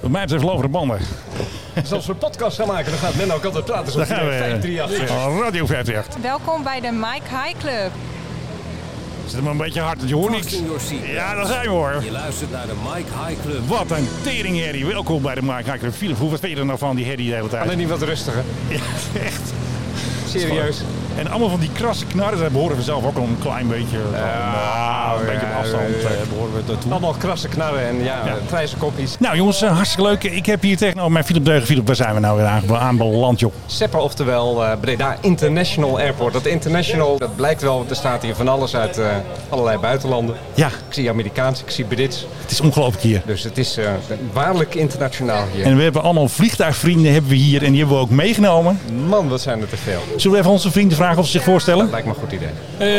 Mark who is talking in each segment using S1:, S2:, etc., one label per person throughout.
S1: Wat mij betreft lopen de banden.
S2: Dus als we een podcast gaan maken, dan gaat men ook altijd praten. Zo
S1: Daar gaan we.
S2: eh,
S1: Oh,
S2: 538.
S1: Radio 538.
S3: Welkom bij de Mike High Club.
S1: Zit hem een beetje hard, want je hoort
S4: Vast
S1: niks.
S4: in your seat.
S1: Ja, daar zijn we hoor.
S4: Je luistert naar de Mike High Club.
S1: Wat een teringherrie. Welkom bij de Mike Hakker. Philip, hoe wat vind je er nou van, die herrie de hele tijd?
S2: Alleen niet wat rustiger.
S1: Ja, echt.
S2: Serieus.
S1: En allemaal van die krasse knarren, daar behoren we zelf ook al een klein beetje, van, eh, een beetje op afstand.
S2: eh,
S1: eh, behoren we daartoe.
S2: Allemaal krassen knarren en ja,
S1: Ja.
S2: grijze kopjes.
S1: Nou jongens, eh, hartstikke leuk. Ik heb hier tegenover mij Philip Deugen. Philip, waar zijn we nou weer aange- aanbeland, joh?
S2: Seppa, oftewel eh, Breda International Airport. Dat international, dat blijkt wel, want er staat hier van alles uit eh, allerlei buitenlanden.
S1: Ja,
S2: Ik zie Amerikaans, ik zie Brits.
S1: het is ongelooflijk hier.
S2: Dus het is eh, waarlijk internationaal hier.
S1: En we hebben allemaal vliegtuigvrienden hebben we hier en die hebben we ook meegenomen.
S2: Man, wat zijn er te veel.
S1: Zullen we even onze vrienden vragen of ze zich voorstellen?
S2: Lijkt me een goed idee.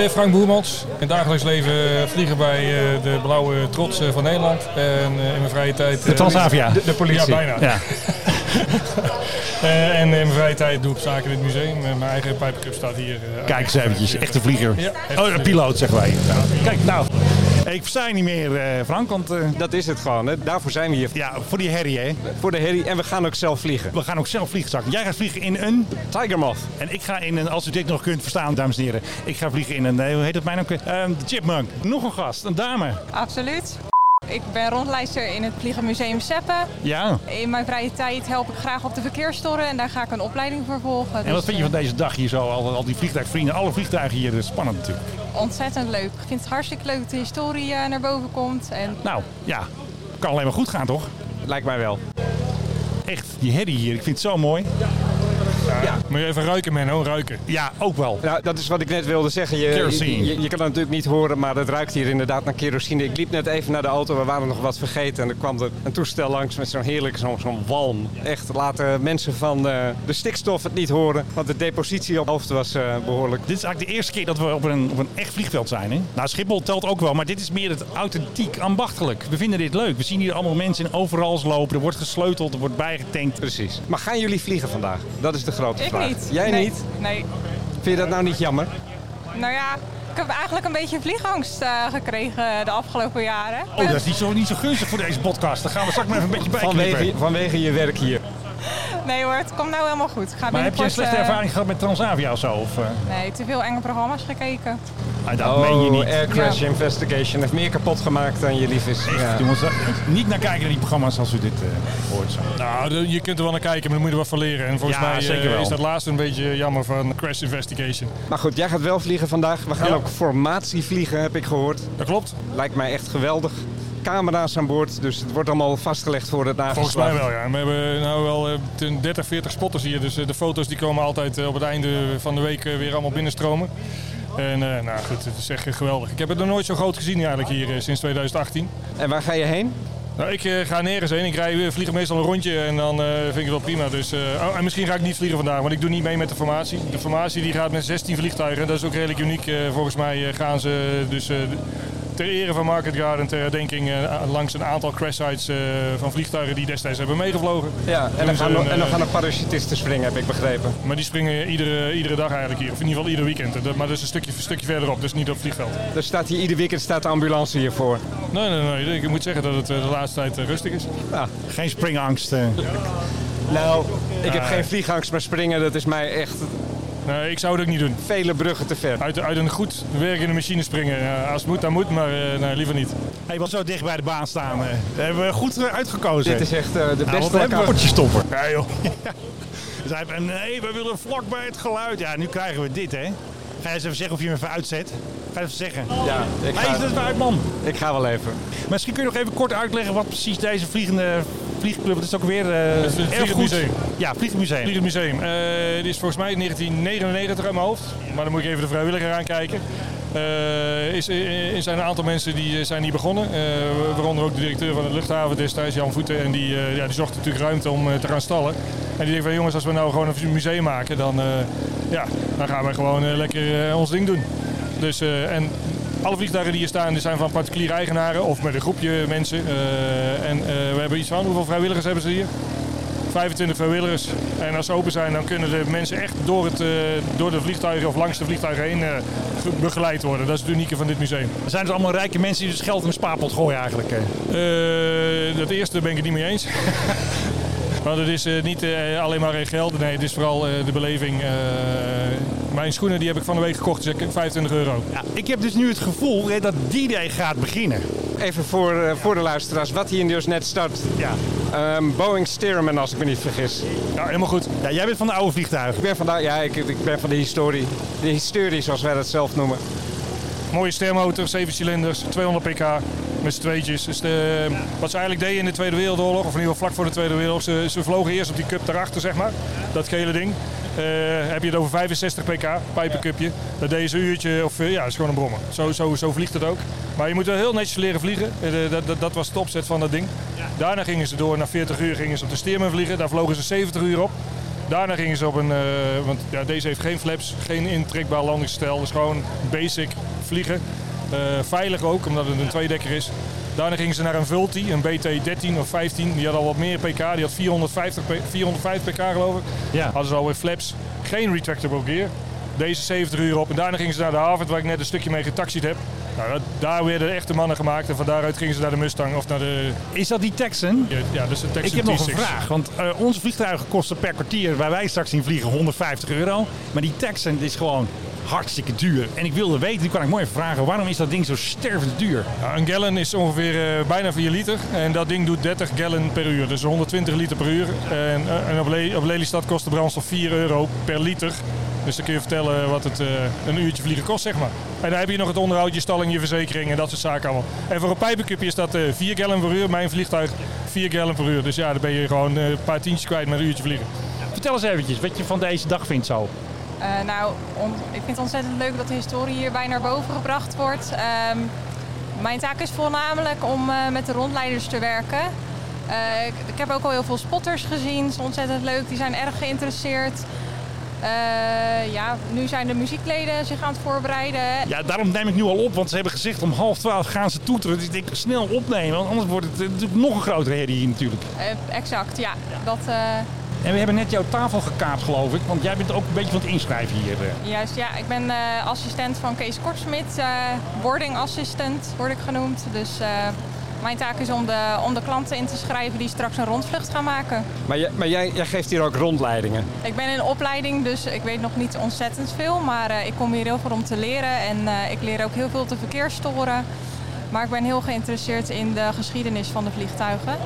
S5: Eh, Frank Boermans. In het dagelijks leven vliegen wij eh, de blauwe trots eh, van Nederland. En eh, in mijn vrije tijd...
S1: De
S5: eh,
S1: Transavia.
S2: De, de
S5: Ja,
S2: politie.
S5: bijna.
S1: Ja,
S5: Eh, en in mijn vrije tijd doe ik zaken in het museum. Eh, mijn eigen pijpencup staat hier. eh,
S1: kijk eens eventjes. Echte vlieger.
S5: Ja.
S1: Oh, een piloot zeggen wij. Kijk, nou. Ik versta je niet meer, eh, Frank, want eh,
S2: Dat is het gewoon. Hè. Daarvoor zijn we hier.
S1: ja, voor die herrie, hè.
S2: Voor de herrie. En we gaan ook zelf vliegen.
S1: We gaan ook zelf vliegzakken. Jij gaat vliegen in een...
S2: Tiger Moth.
S1: En ik ga in een, als u dit nog kunt verstaan, dames en heren. Ik ga vliegen in een, eh, hoe heet dat mijn naam? Ehm, de Chipmunk. Nog een gast, een dame.
S3: Absoluut. Ik ben rondleider in het Vliegenmuseum Seppen.
S1: Ja.
S3: In mijn vrije tijd help ik graag op de verkeersstoren en daar ga ik een opleiding voor
S1: En
S3: volgen.
S1: wat
S3: Dus,
S1: vind je van deze dag hier zo? Al, al die vliegtuigvrienden, alle vliegtuigen hier. eh, Spannend natuurlijk.
S3: eh, Ontzettend leuk. Ik vind het hartstikke leuk dat de historie eh, naar boven komt. En
S1: Nou, ja. Kan alleen maar goed gaan, toch?
S2: Lijkt mij wel.
S1: Echt, die herrie hier. Ik vind het zo mooi.
S5: Moet je even ruiken, Menno, ruiken.
S1: Ja, ook wel.
S2: Nou, dat is wat ik net wilde zeggen. Je,
S1: Kerosine.
S2: je, je- je kan het natuurlijk niet horen, maar het ruikt hier inderdaad naar kerosine. Ik liep net even naar de auto, we waren nog wat vergeten. En er kwam er een toestel langs met zo'n heerlijk zo'n zo'n walm. Echt, laten mensen van eh, de stikstof het niet horen. Want de depositie op hoofd was eh, behoorlijk.
S1: Dit is eigenlijk de eerste keer dat we op een, op een echt vliegveld zijn. Hè? Nou, Schiphol telt ook wel, maar dit is meer het authentiek, ambachtelijk. We vinden dit leuk. We zien hier allemaal mensen in overals lopen. Er wordt gesleuteld, er wordt bijgetankt.
S2: Precies. Maar gaan jullie vliegen vandaag? Dat is de grote
S3: ik
S2: vraag.
S3: niet.
S2: Jij
S3: Nee,
S2: niet?
S3: Nee.
S2: Vind je dat nou niet jammer?
S3: Nou ja, ik heb eigenlijk een beetje vliegangst eh, gekregen de afgelopen jaren.
S1: Oh, dat is niet zo, niet zo gunstig voor deze podcast. Daar gaan we straks maar even een beetje bij
S2: Vanwege, vanwege je werk hier.
S3: Nee hoor, het komt nou helemaal goed. Ik ga
S1: Maar heb je een
S3: binnenkort,
S1: slechte
S3: eh,
S1: ervaring gehad met Transavia of zo? Of, eh?
S3: Nee, te veel enge programma's gekeken.
S1: Ah,
S2: Oh,
S1: dat meen je niet.
S2: Air Crash
S3: Ja.
S2: Investigation heeft meer kapot gemaakt dan je lief is. Ja.
S1: Jongens, dat- niet naar kijken naar die programma's als u dit eh, hoort. Zo.
S5: Nou, de- je kunt er wel naar kijken, maar dan moet je er wat van leren. En volgens
S1: Ja,
S5: mij eh,
S1: zeker wel.
S5: is dat laatste een beetje jammer van Crash Investigation.
S2: Maar goed, jij gaat wel vliegen vandaag. We gaan
S5: Ja.
S2: ook formatie vliegen, heb ik gehoord.
S5: Dat klopt.
S2: Lijkt mij echt geweldig. Camera's aan boord, dus het wordt allemaal vastgelegd voor het nageslag.
S5: Volgens mij wel, ja. En we hebben nou wel eh, ten 30, 40 spotters hier. Dus eh, de foto's die komen altijd eh, op het einde van de week eh, weer allemaal binnenstromen. En eh, nou goed, het is echt eh, geweldig. Ik heb het nog nooit zo groot gezien eigenlijk hier eh, sinds 2018.
S2: En waar ga je heen?
S5: Nou, ik eh, ga nergens heen. Ik rij, eh, vlieg meestal een rondje en dan eh, vind ik het wel prima. Dus, eh, oh, en misschien ga ik niet vliegen vandaag, want ik doe niet mee met de formatie. De formatie die gaat met 16 vliegtuigen. Dat is ook redelijk uniek. Eh, volgens mij eh, gaan ze dus eh, ter ere van Market Garden, ter herdenking, eh, a- langs een aantal crash sites eh, van vliegtuigen die destijds hebben meegevlogen.
S2: Ja, en
S5: Doen
S2: dan,
S5: ze
S2: gaan,
S5: een,
S2: en dan
S5: eh,
S2: gaan er parachutisten springen, heb ik begrepen.
S5: Maar die springen iedere, iedere dag eigenlijk hier, of in ieder geval ieder weekend. Eh, dat- Maar dat is een stukje, een stukje verderop, dus niet op het vliegveld.
S2: Er staat hier ieder weekend staat de ambulance hiervoor.
S5: Nee, nee, nee. Ik moet zeggen dat het eh, de laatste tijd eh, rustig is.
S1: Geen springangst. eh.
S2: Nou, ik heb geen vliegangst, maar springen, dat is mij echt
S5: Nee, ik zou het ook niet doen.
S2: vele bruggen te ver.
S5: Uit, uit een goed werkende machine springen. Ja, als het moet, dan moet, maar eh, nee, liever niet.
S1: Hey, wat zo dicht bij de baan staan. eh. Dat hebben we goed eh, uitgekozen.
S2: Dit is echt eh, de
S1: Nou, wat
S2: beste
S1: hebben we?
S2: locatie.
S1: Potje stoppen. Ja, joh. Ze hebben- en nee, we willen vlak bij het geluid. Ja, nu krijgen we dit, hè. Ga je eens even zeggen of je hem even uitzet? Ga even zeggen.
S2: Ja, ik
S1: Hij is
S2: ga,
S1: het uit, man.
S2: ik ga wel even.
S1: Misschien kun je nog even kort uitleggen wat precies deze vliegende vliegclub... Het is ook weer eh
S5: is het
S1: erg goed.
S5: Vliegenmuseum.
S1: Ja, vliegmuseum.
S5: Vlieg het museum. Eh dit is volgens mij 1999 uit mijn hoofd. Maar dan moet ik even de vrijwilliger aankijken. Eh is, eh, er zijn een aantal mensen die eh, zijn hier begonnen. Eh, waaronder ook de directeur van de luchthaven destijds, Jan Voeten. En die, eh, ja, die zocht natuurlijk ruimte om eh, te gaan stallen. En die denkt van jongens, als we nou gewoon een museum maken, dan, eh, ja, dan gaan we gewoon eh, lekker eh, ons ding doen. Dus, eh, en Alle vliegtuigen die hier staan die zijn van particuliere eigenaren of met een groepje mensen. Eh, en eh, we hebben iets van, hoeveel vrijwilligers hebben ze hier? 25 vrijwilligers. En als ze open zijn, dan kunnen de mensen echt door, het, eh, door de vliegtuigen of langs de vliegtuigen heen eh, ge- begeleid worden. Dat is het unieke van dit museum.
S1: Er zijn dus allemaal rijke mensen die dus geld in een spaarpot gooien eigenlijk. eh.
S5: Eh, dat eerste ben ik het niet mee eens. Want het is eh, niet eh, alleen maar in geld. Nee, het is vooral eh, de beleving. eh, mijn schoenen die heb ik van de week gekocht, dus ik heb 25 euro.
S1: Ja, ik heb dus nu het gevoel hè, dat die day gaat beginnen.
S2: Even voor, eh, voor de luisteraars, wat hier dus net start.
S1: Ja.
S2: Ehm, Boeing Stearman, als ik me niet vergis.
S5: Ja, helemaal goed.
S1: ja, jij bent van de oude vliegtuigen.
S2: Ik ben van de, ja, ik, ik ben van de historie. De historie, zoals wij dat zelf noemen.
S5: Mooie stermotor, 7 cilinders, 200 pk, met z'n tweetjes. Dus de, wat ze eigenlijk deden in de Tweede Wereldoorlog, of in ieder geval vlak voor de Tweede Wereldoorlog, ze, ze vlogen eerst op die cup daarachter, zeg maar, dat gele ding. Eh, heb je het over 65 pk, pijpencupje. Dat deden ze een uurtje, of eh, ja, dat is gewoon een brommer. Zo, zo, zo vliegt het ook. Maar je moet wel heel netjes leren vliegen. Eh, eh, dat, dat, dat was de opzet van dat ding. Daarna gingen ze door, na 40 uur gingen ze op de Steerman vliegen. Daar vlogen ze 70 uur op. Daarna gingen ze op een, eh, want ja, deze heeft geen flaps, geen intrekbaar landingsstel. Dus gewoon basic vliegen. Eh, veilig ook, omdat het een tweedekker is. Daarna gingen ze naar een Vulti, een BT-13 of 15. Die had al wat meer pk, die had 450 p- 405 pk geloof ik.
S1: Ja.
S5: Hadden ze alweer flaps, geen retractable gear. Deze 70 uur op en daarna gingen ze naar de Harvard waar ik net een stukje mee getaxied heb. Nou, dat- daar werden de echte mannen gemaakt en van daaruit gingen ze naar de Mustang of naar de...
S1: Is dat die Texan?
S5: Ja, dus de Texan
S1: Ik heb nog een
S5: T6.
S1: vraag, want eh, onze vliegtuigen kosten per kwartier waar wij straks in vliegen 150 euro. Maar die Texan is gewoon hartstikke duur. En ik wilde weten, die kan ik mooi even vragen, waarom is dat ding zo stervend duur?
S5: Ja, Een gallon is ongeveer eh, bijna 4 liter. En dat ding doet 30 gallon per uur. Dus 120 liter per uur. En, eh, en op, Le- op Lelystad kost de brandstof 4 euro per liter. Dus dan kun je vertellen wat het eh, een uurtje vliegen kost, zeg maar. En dan heb je nog het onderhoud, je stalling, je verzekering en dat soort zaken allemaal. En voor een pijpencupje is dat eh 4 gallon per uur. Mijn vliegtuig 4 gallon per uur. Dus ja, dan ben je gewoon eh, een paar tientjes kwijt met een uurtje vliegen.
S1: Vertel eens eventjes wat je van deze dag vindt zo.
S3: Eh, nou, on- ik vind het ontzettend leuk dat de historie hierbij naar boven gebracht wordt. Ehm, mijn taak is voornamelijk om eh, met de rondleiders te werken. Eh, ik, ik heb ook al heel veel spotters gezien. Ze zijn ontzettend leuk. Die zijn erg geïnteresseerd. Eh, ja, nu zijn de muziekleden zich aan het voorbereiden.
S1: Ja, daarom neem ik nu al op, want ze hebben gezegd om half twaalf gaan ze toeteren. Dus ik denk snel opnemen, want anders wordt het eh, natuurlijk nog een grotere herrie hier natuurlijk.
S3: Eh, exact, ja. Dat, eh,
S1: En we hebben net jouw tafel gekaapt geloof ik, want jij bent ook een beetje van het inschrijven hier. eh.
S3: Juist, ja. Ik ben eh, assistent van Kees Kortsmit. eh boarding assistant word ik genoemd. Dus eh, mijn taak is om de, om de klanten in te schrijven die straks een rondvlucht gaan maken.
S2: Maar, jij- maar jij, jij geeft hier ook rondleidingen.
S3: Ik ben in opleiding, dus ik weet nog niet ontzettend veel. Maar eh, ik kom hier heel veel om te leren. En eh, ik leer ook heel veel te verkeersstoren. Maar ik ben heel geïnteresseerd in de geschiedenis van de vliegtuigen.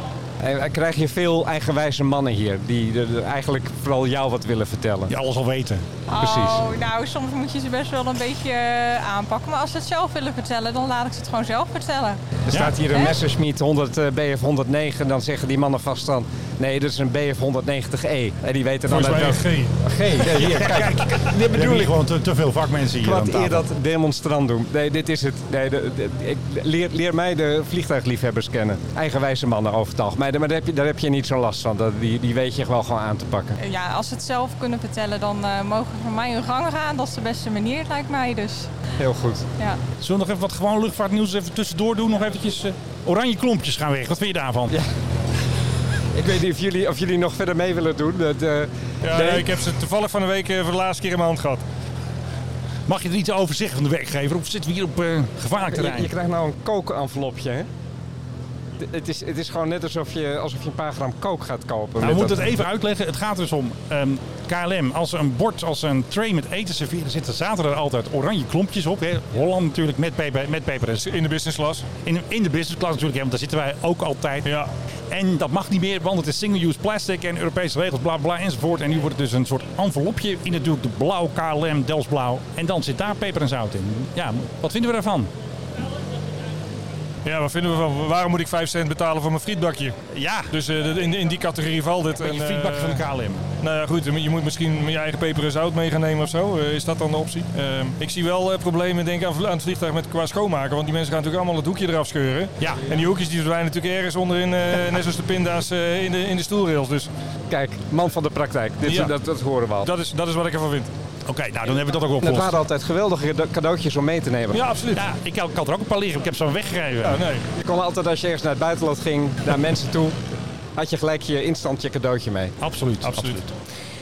S2: En eh, krijg je veel eigenwijze mannen hier, die de- de- eigenlijk vooral jou wat willen vertellen.
S1: Die alles al weten.
S3: Oh, nou, soms moet je ze best wel een beetje eh, aanpakken. Maar als ze het zelf willen vertellen, dan laat ik ze het gewoon zelf vertellen.
S2: Er staat hier een Messerschmitt 100 eh, BF 109, dan zeggen die mannen vast dan, nee, dat is een BF 190E. E. En die weten dan
S5: Volgens mij
S2: dat...
S5: echt geen.
S2: G, ja, hier, kijk. Dit bedoel ik.
S1: gewoon te, te veel vakmensen hier aan
S2: Wat
S1: tafel.
S2: eer dat demonstrant doen. Nee, dit is het. Nee, de- de- ik, leer, leer mij de vliegtuigliefhebbers kennen. Eigenwijze mannen over het algemeen. Maar daar heb je, daar heb je niet zo'n last van. Dat, die, die weet je wel gewoon aan te pakken.
S3: Ja, als ze het zelf kunnen vertellen, dan eh, mogen ze voor mij hun gang gaan. Dat is de beste manier, lijkt mij. Dus
S2: Heel goed.
S3: ja.
S1: Zullen we nog even wat gewoon luchtvaartnieuws even tussendoor doen? Nog eventjes eh, oranje klompjes gaan weg. Wat vind je daarvan?
S2: Ja. Ik weet niet of jullie, of jullie nog verder mee willen doen. Dat, eh,
S5: Ja,
S2: nee.
S5: nee, ik heb ze toevallig van de week eh, voor de laatste keer in mijn hand gehad.
S1: Mag je er iets over zeggen van de werkgever? Of zitten we hier op eh, gevaarlijk
S2: je,
S1: terrein?
S2: je krijgt nou een kookenvelopje, hè? D- Het is, het is gewoon net alsof je, alsof je een paar gram kook gaat kopen.
S1: Nou,
S2: met
S1: we moeten
S2: dat-
S5: e-
S1: het even uitleggen. Het gaat dus om ehm, KLM. Als ze een bord, als ze een tray met eten serveren, zitten zaten er altijd oranje klompjes op. Hè? Holland natuurlijk met peper, met peper en
S5: In de business class.
S1: In, in de business class natuurlijk, hè, want daar zitten wij ook altijd.
S5: Ja.
S1: En dat mag niet meer, want het is single-use plastic en Europese regels, bla bla enzovoort. En nu wordt het dus een soort envelopje in natuurlijk de blauw KLM, Delsblauw. En dan zit daar peper en zout in. Ja, wat vinden we daarvan?
S5: Ja, wat vinden we van? Waarom moet ik 5 cent betalen voor mijn frietbakje?
S1: Ja,
S5: Dus eh, dat- in, in die categorie valt dit.
S1: een
S5: En, eh,
S1: feedback van de KLM.
S5: Nou ja, goed. Je moet misschien je eigen peper en zout mee gaan nemen of zo. Eh, is dat dan de optie? Ehm, ik zie wel eh, problemen denk ik, aan, vl- aan het vliegtuig met qua schoonmaken. Want die mensen gaan natuurlijk allemaal het hoekje eraf scheuren.
S1: Ja.
S5: En die hoekjes die verdwijnen natuurlijk ergens onderin. eh, net zoals de pinda's eh, in, de, in de stoelrails. Dus
S2: Kijk, man van de praktijk. Dit,
S5: Ja.
S2: dat, dat horen we al.
S5: dat is, dat is wat ik ervan vind.
S1: Oké, nou dan hebben we dat ook
S2: Het
S1: opgelost.
S2: waren altijd geweldige cade- cadeautjes om mee te nemen.
S5: Ja, absoluut.
S1: Ja, ik had ik had er ook een paar liggen. Ik heb ze weggegeven.
S5: Ja, nee.
S2: Je kon altijd als je ergens naar het buitenland ging, naar mensen toe. had je gelijk je instant je cadeautje mee.
S1: Absoluut,
S5: Absoluut.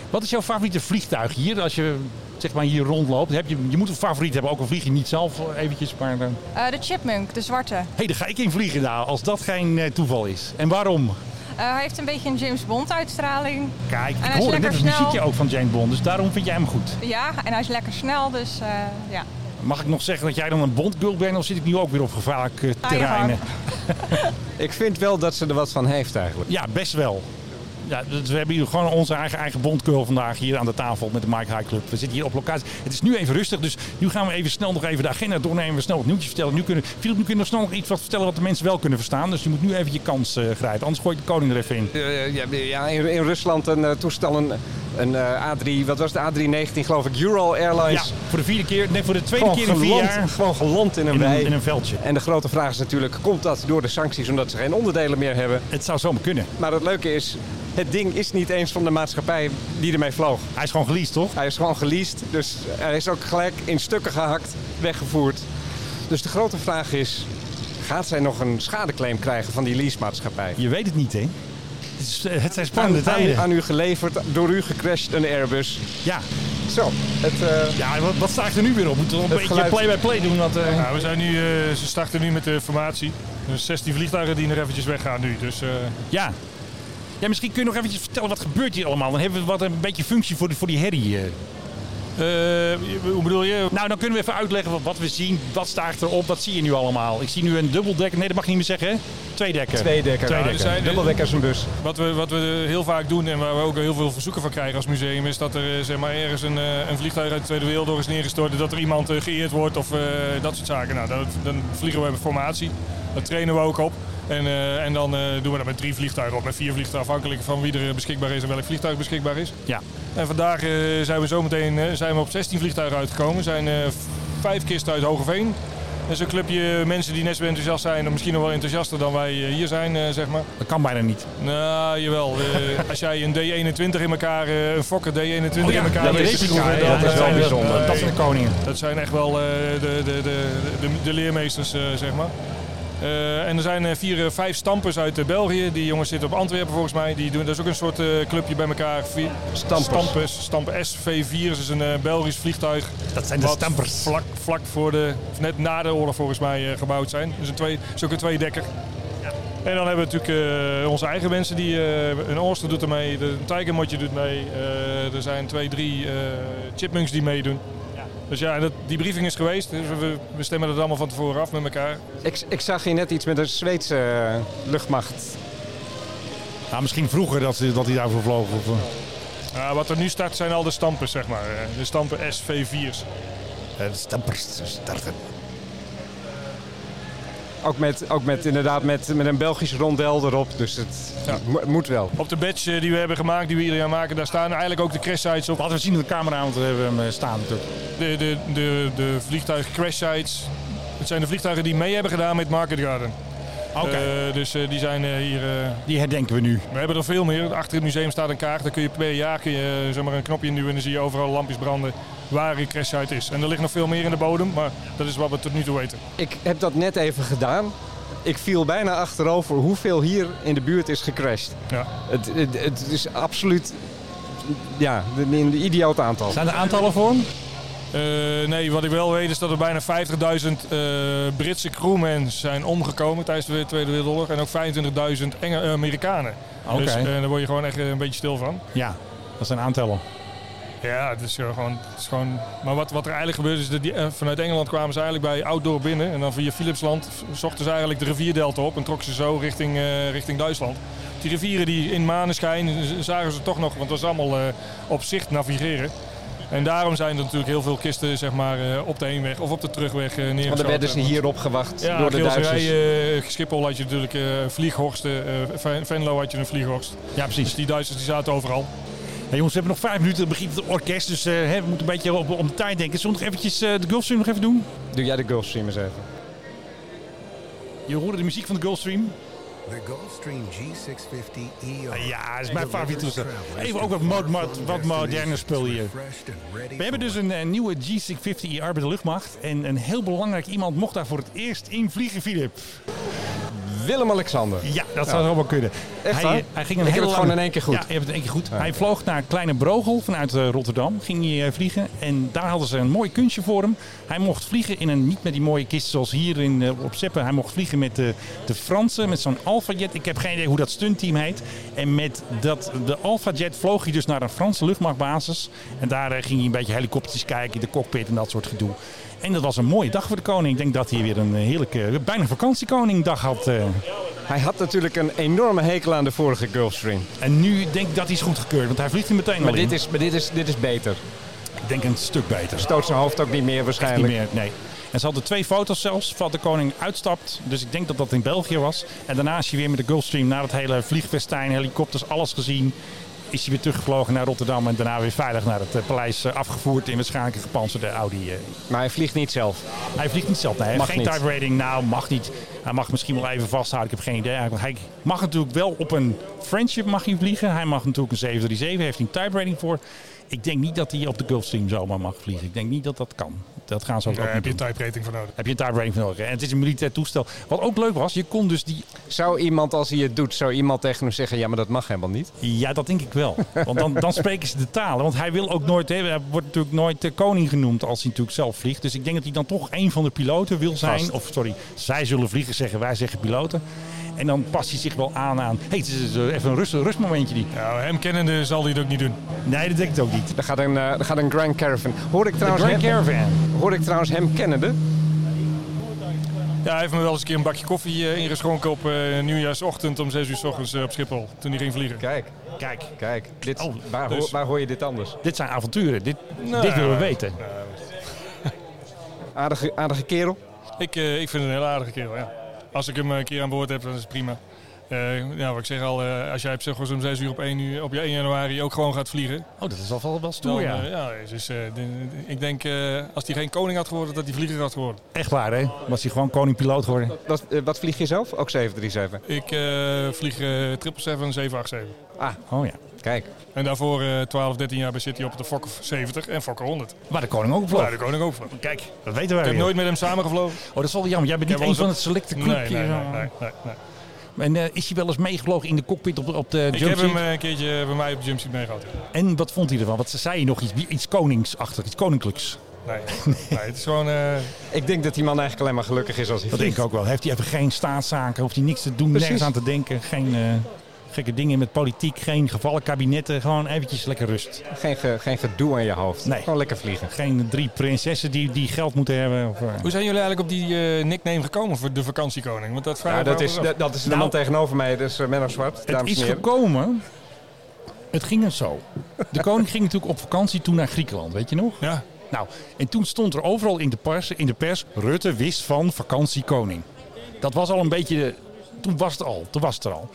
S1: Wat is jouw favoriete vliegtuig hier? Als je zeg maar hier rondloopt, heb je, je moet een favoriet hebben. Ook al vlieg je niet zelf eh, eventjes, maar... eh,
S3: Eh, de chipmunk, de zwarte.
S1: Hé, daar ga ik in vliegen nou, als dat geen eh, toeval is. En waarom?
S3: Eh, hij heeft een beetje een James Bond uitstraling.
S1: Kijk, ik
S3: hij is
S1: hoor net
S3: lekker
S1: het
S3: snel.
S1: muziekje ook van James Bond, dus daarom vind jij hem goed.
S3: Ja, en hij is lekker snel, dus eh, ja.
S1: Mag ik nog zeggen dat jij dan een Bondgul bent of zit ik nu ook weer op gevaarlijk
S3: Ah,
S1: eh, terreinen?
S2: Ik vind wel dat ze er wat van heeft eigenlijk.
S1: Ja, best wel. Ja, dus we hebben hier gewoon onze eigen, eigen bondcurl vandaag hier aan de tafel met de Mike High Club. We zitten hier op locatie. Het is nu even rustig, dus nu gaan we even snel nog even de agenda doornemen. We snel wat nieuwtjes vertellen. Nu kunnen, Philip, nu kun je nog snel nog iets wat vertellen wat de mensen wel kunnen verstaan. Dus je moet nu even je kans eh, grijpen, anders gooi ik de koning er even in.
S2: Eh, ja, ja, in, in Rusland een eh, toestel, een, een eh, A3, wat was het, A319 geloof ik, Ural
S1: Ja,
S2: Airlines.
S1: voor de vierde keer, nee, voor de tweede
S2: Gewoon
S1: keer in vier
S2: geland,
S1: jaar
S2: gewoon geland in een
S1: in
S2: wei.
S1: een, in een veldje.
S2: En de grote vraag is natuurlijk, komt dat door de sancties omdat ze geen onderdelen meer hebben?
S1: Het zou zomaar kunnen.
S2: Maar het leuke is, het ding is niet eens van de maatschappij die ermee vloog.
S1: Hij is gewoon geleased, toch?
S2: Hij is gewoon geleased, dus hij is ook gelijk in stukken gehakt, weggevoerd. Dus de grote vraag is, gaat zij nog een schadeclaim krijgen van die leasemaatschappij?
S1: Je weet het niet, hè? Het, is, eh, het zijn
S2: Aan,
S1: spannende
S2: aan,
S1: tijden.
S2: aan u geleverd, door u gecrashed een Airbus.
S1: Ja,
S2: Zo, het, eh,
S1: ja wat, wat sta ik er nu weer op? Moeten we een
S2: Het
S1: beetje
S2: geluid-
S1: play-by-play doen? Want, eh,
S5: Ja, we zijn nu, eh, ze starten nu met de formatie. Er zijn 16 vliegtuigen die nog eventjes weggaan nu. Dus, eh,
S1: Ja. Ja, misschien kun je nog eventjes vertellen wat gebeurt hier allemaal. Dan hebben we wat een beetje functie voor, die- voor die herrie. eh.
S5: eh, hoe bedoel je?
S1: Nou, dan kunnen we even uitleggen wat, wat we zien. Wat staat erop? Wat zie je nu allemaal? Ik zie nu een dubbeldekker. Nee, dat mag ik niet meer zeggen. hè? Tweedekker.
S2: tweedekker,
S1: Tweedekker.
S5: er zijn-
S2: dubbeldekker is een bus.
S5: Wat we, wat we heel vaak doen en waar we ook heel veel verzoeken van krijgen als museum, is dat er eh, zeg maar, ergens een, eh, een vliegtuig uit de Tweede Wereldoorlog is neergestort. en Dat er iemand eh, geëerd wordt of eh, dat soort zaken. Nou, dat, dan vliegen we in formatie. Daar trainen we ook op. En, eh, en dan eh, doen we dat met drie vliegtuigen op, met vier vliegtuigen, afhankelijk van wie er eh, beschikbaar is en welk vliegtuig beschikbaar is.
S1: Ja.
S5: En vandaag eh, zijn we zometeen eh, zijn we op 16 vliegtuigen uitgekomen. zijn eh, v- vijf kisten uit Hogeveen. Dat is een clubje mensen die net zo enthousiast zijn, of misschien nog wel enthousiaster dan wij eh, hier zijn, eh, zeg maar.
S1: Dat kan bijna niet.
S5: Nou, jawel. Eh, als jij een D21 in elkaar, eh, een Fokker D21 in elkaar...
S1: dat
S5: weet
S1: is,
S5: je
S1: Oh, ja,
S5: hoe, hè,
S1: ja, dat is wel
S5: zijn-
S1: bijzonder.
S5: eh,
S1: Dat zijn de koningen.
S5: dat zijn echt wel eh, de, de, de, de, de leermeesters, eh, zeg maar. Eh, en er zijn eh, vier, eh, vijf stampers uit eh, België. Die jongens zitten op Antwerpen volgens mij. Die doen, dat is ook een soort eh, clubje bij elkaar. Vier-
S2: Stampers.
S5: Stampers. Stamp SV4 is een eh, Belgisch vliegtuig.
S1: Dat zijn de
S5: wat
S1: stampers.
S5: Vlak, vlak voor de, of net na de oorlog volgens mij eh, gebouwd zijn. Dus een twee, is ook een tweedekker. En dan hebben we natuurlijk eh, onze eigen mensen. Die, eh, een Ooster doet ermee, de- een Tijgermotje doet mee. eh, er zijn twee, drie eh, chipmunks die meedoen. Dus ja, dat, die briefing is geweest. Dus we, we stemmen dat allemaal van tevoren af met elkaar.
S2: Ik, ik zag hier net iets met een Zweedse eh, luchtmacht.
S1: Nou, misschien vroeger dat, dat hij daarvoor vloog. Of, eh.
S5: Ja, wat er nu start zijn al de stampen, zeg maar. Eh, De stampen SV4's.
S1: Eh, stampers starten.
S2: Ook met, ook met inderdaad met, met een Belgisch rondel erop, dus het
S5: Ja.
S2: mo- moet wel.
S5: Op de badge eh, die we hebben gemaakt, die we ieder jaar maken, daar staan eigenlijk ook de crash sites op.
S1: Laten we zien dat de camera, want we hebben hem eh, staan natuurlijk.
S5: De, de, de, de vliegtuig crash sites. Het zijn de vliegtuigen die mee hebben gedaan met Market Garden.
S1: Oké,
S5: Eh, dus eh, die zijn eh, hier... eh,
S1: die herdenken we nu.
S5: we hebben er veel meer. Achter het museum staat een kaart. Daar kun je per jaar kun je, eh, zeg maar, een knopje induwen en dan zie je overal lampjes branden waar een crash site is. En er ligt nog veel meer in de bodem, maar dat is wat we tot nu toe weten.
S2: Ik heb dat net even gedaan. Ik viel bijna achterover hoeveel hier in de buurt is gecrashed.
S5: Ja.
S2: Het, het, het is absoluut ja, een, een idioot aantal.
S1: Zijn er aantallen voor hem?
S5: Eh, nee, wat ik wel weet is dat er bijna 50.000 eh, Britse crewmen zijn omgekomen tijdens de Tweede Wereldoorlog. En ook 25.000 Enge- eh, Amerikanen.
S1: Oké.
S5: Dus eh, daar word je gewoon echt eh, een beetje stil van.
S1: Ja, dat zijn aantallen.
S5: Ja, het is eh, gewoon... Het is gewoon maar wat, wat er eigenlijk gebeurde is dat die, eh, vanuit Engeland kwamen ze eigenlijk bij Outdoor binnen. En dan via Philipsland v- zochten ze eigenlijk de rivierdelta op en trokken ze zo richting, eh, richting Duitsland. Die rivieren die in Maneschijn z- zagen ze toch nog, want dat was allemaal eh, op zicht navigeren. En daarom zijn er natuurlijk heel veel kisten zeg maar, eh, op de heenweg of op de terugweg eh neergeschoten.
S2: Want er werden ze hier opgewacht
S5: Ja,
S2: door de Duitsers.
S5: Geelserij, eh, Schiphol had je natuurlijk eh, vlieghorsten. eh, Ven- Venlo had je een vlieghorst.
S1: Ja, precies.
S5: Dus die Duitsers die zaten overal.
S1: Hey jongens, we hebben nog vijf minuten, dan begint het orkest, dus eh, hè, we moeten een beetje op, op de tijd denken. Zullen we nog eventjes eh, de Gulfstream nog even doen?
S2: Doe jij de Gulfstream eens even.
S1: Je hoorde de muziek van de Gulfstream.
S6: The Gulfstream G650 ER.
S1: Ja, dat is mijn
S6: mijn
S1: favoriete
S6: favoriete.
S1: toestel.
S6: Even ook wat, mo- mo- wat moderne spul hier.
S1: We hebben dus een, eh, nieuwe G650ER bij de luchtmacht. En een heel belangrijk iemand mocht daar voor het eerst in vliegen, Filip.
S2: Willem-Alexander.
S1: Ja, dat zou wel kunnen.
S2: Echt waar?
S1: hij, eh, hij ging een
S2: Ik heb
S1: hele
S2: het gewoon
S1: lange-
S2: in één keer goed.
S1: Ja, je hebt het in één keer goed. Hij vloog naar Kleine Brogel vanuit eh, Rotterdam. Ging hij eh, vliegen. En daar hadden ze een mooi kunstje voor hem. Hij mocht vliegen in een, niet met die mooie kist zoals hier in, eh, op Zeppen. Hij mocht vliegen met de, de Fransen, met zo'n Alpha-jet. Ik heb geen idee hoe dat stuntteam heet. En met dat, de Alpha-jet vloog hij dus naar een Franse luchtmachtbasis. En daar eh, ging hij een beetje helikopters kijken, in de cockpit en dat soort gedoe. En dat was een mooie dag voor de koning. Ik denk dat hij weer een eh, heerlijke, bijna vakantiekoningdag had. eh.
S2: Hij had natuurlijk een enorme hekel aan de vorige Gulfstream.
S1: En nu denk ik dat hij is goedgekeurd, want hij vliegt er meteen
S2: Maar
S1: al in.
S2: dit is, maar dit is, dit is beter.
S1: Ik denk een stuk beter.
S2: Stoot zijn hoofd ook niet meer
S1: Niet
S2: waarschijnlijk.
S1: meer, nee. En ze hadden twee foto's zelfs van de koning uitstapt. Dus ik denk dat dat in België was. En daarna is hij weer met de Gulfstream naar het hele vliegfestijn, helikopters, alles gezien. Is hij weer teruggevlogen naar Rotterdam en daarna weer veilig naar het eh, paleis eh, afgevoerd in waarschijnlijk een gepantserde Audi. eh.
S2: Maar hij vliegt niet zelf.
S1: Hij vliegt niet zelf, nee. Hij
S2: Mag
S1: heeft geen
S2: niet.
S1: type rating, nou mag niet. Hij mag misschien wel even vasthouden, ik heb geen idee. Hij- Hij mag natuurlijk wel op een friendship mag hij vliegen. Hij mag natuurlijk een 737, heeft hij een type rating voor. Ik denk niet dat hij op de Gulfstream zomaar mag vliegen. Ik denk niet dat dat kan. Dat gaan ze ook,
S5: Daar
S1: ook niet
S5: heb je een
S1: doen.
S5: type rating voor nodig.
S1: Heb je een type rating voor nodig. En het is een militair toestel. Wat ook leuk was, je kon dus die...
S2: Zou iemand, als hij het doet, zou iemand tegen hem zeggen... ja, maar dat mag helemaal niet?
S1: Ja, dat denk ik wel. Want dan, dan spreken ze de talen. Want hij wil ook nooit... hè, Hij wordt natuurlijk nooit eh, koning genoemd als hij natuurlijk zelf vliegt. Dus ik denk dat hij dan toch een van de piloten wil zijn.
S2: Vast.
S1: Of sorry, zij zullen vliegen zeggen, wij zeggen piloten. En dan past hij zich wel aan aan... Hé, hey, het is eh, even een rust, rustmomentje die...
S5: Nou, hem kennende zal hij het ook niet doen.
S1: Nee, dat denk ik ook niet.
S2: Er gaat een, eh, er gaat een Grand Caravan. Hoor ik trouwens,
S1: Grand
S2: hem,
S1: Caravan.
S2: hoor ik trouwens hem kennende?
S5: Ja, hij heeft me wel eens een keer een bakje koffie eh, ingeschonken op eh, nieuwjaarsochtend om 6 uur s ochtends eh, op Schiphol. Toen hij ging vliegen.
S2: Kijk,
S1: Kijk,
S2: kijk. Dit,
S1: Oh,
S2: waar,
S5: dus-
S2: hoor, waar hoor je dit anders?
S1: dit zijn avonturen. Dit,
S5: Nou,
S1: dit willen we weten.
S2: Aardige, aardige kerel.
S5: Ik, eh, ik vind het een hele aardige kerel, ja. Als ik hem een keer aan boord heb, dan is het prima. Eh ja, wat ik zeg al, eh, als jij op Zegels om 6 uur op 1, uur, op je 1 januari ook gewoon gaat vliegen...
S1: Oh, dat is wel, wel, wel
S5: Dan,
S1: stoer, ja.
S5: eh, ja dus, eh, de- de- ik denk, eh, als hij geen koning had geworden, dat hij vlieger had geworden.
S1: Echt waar, hè? Was hij gewoon koning-piloot geworden.
S2: Wat, eh, wat vlieg je zelf? Ook 737.
S5: Ik eh, vlieg eh 777, 787.
S1: Oh ja.
S2: Ah, Kijk,
S5: En daarvoor eh 12, 13 jaar bij City op de Fokker 70 en Fokker 100.
S1: Maar de koning ook
S5: Waar
S1: vloog.
S5: de koning ook van. Ik
S1: Kijk, dat weten wij
S5: heb
S1: weer.
S5: nooit met hem samengevlogen.
S1: Oh, dat is wel jammer. Jij bent
S5: Ik
S1: niet
S5: heb
S1: een
S5: wel
S1: van
S5: eens
S1: het selecte
S5: Nee,
S1: clubje. eh.
S5: nee, nee, nee, nee, nee.
S1: En eh, is hij wel eens meegevlogen in de cockpit op de, op de
S5: Ik
S1: jump
S5: heb hem
S1: seat?
S5: eh, een keertje bij mij op de jumpseat meegehad.
S1: En wat vond hij ervan? Want ze zei hij nog iets, iets koningsachtig, iets koninklijks.
S5: Nee, nee, het is gewoon... eh,
S2: ik denk dat die man eigenlijk alleen maar gelukkig is als hij
S1: Dat
S2: vliegt.
S1: denk ik ook wel. Heeft hij even geen staatszaken, hoeft hij niks te doen,
S2: Precies.
S1: nergens aan te denken. Geen eh, gekke dingen met politiek, geen gevallen kabinetten. Gewoon eventjes lekker rust.
S2: Geen, ge- geen gedoe aan je hoofd.
S1: Nee.
S2: Gewoon lekker vliegen.
S1: Geen drie prinsessen die, die geld moeten hebben. Of, eh.
S5: Hoe zijn jullie eigenlijk op die eh, nickname gekomen voor de vakantiekoning? Want dat vraag
S2: Ja,
S5: ik
S2: dat
S5: me
S2: is,
S5: altijd af.
S2: dat, dat is de
S1: Nou.
S2: man tegenover mij, dus is Menno Zwart.
S1: Het
S2: Dames
S1: is
S2: en heren.
S1: gekomen. Het ging dus zo. De koning ging natuurlijk op vakantie toen naar Griekenland, weet je nog?
S5: Ja,
S1: Nou, en toen stond er overal in de pers, in de pers Rutte wist van vakantie koning. Dat was al een beetje, de- toen was het al, toen was het er al.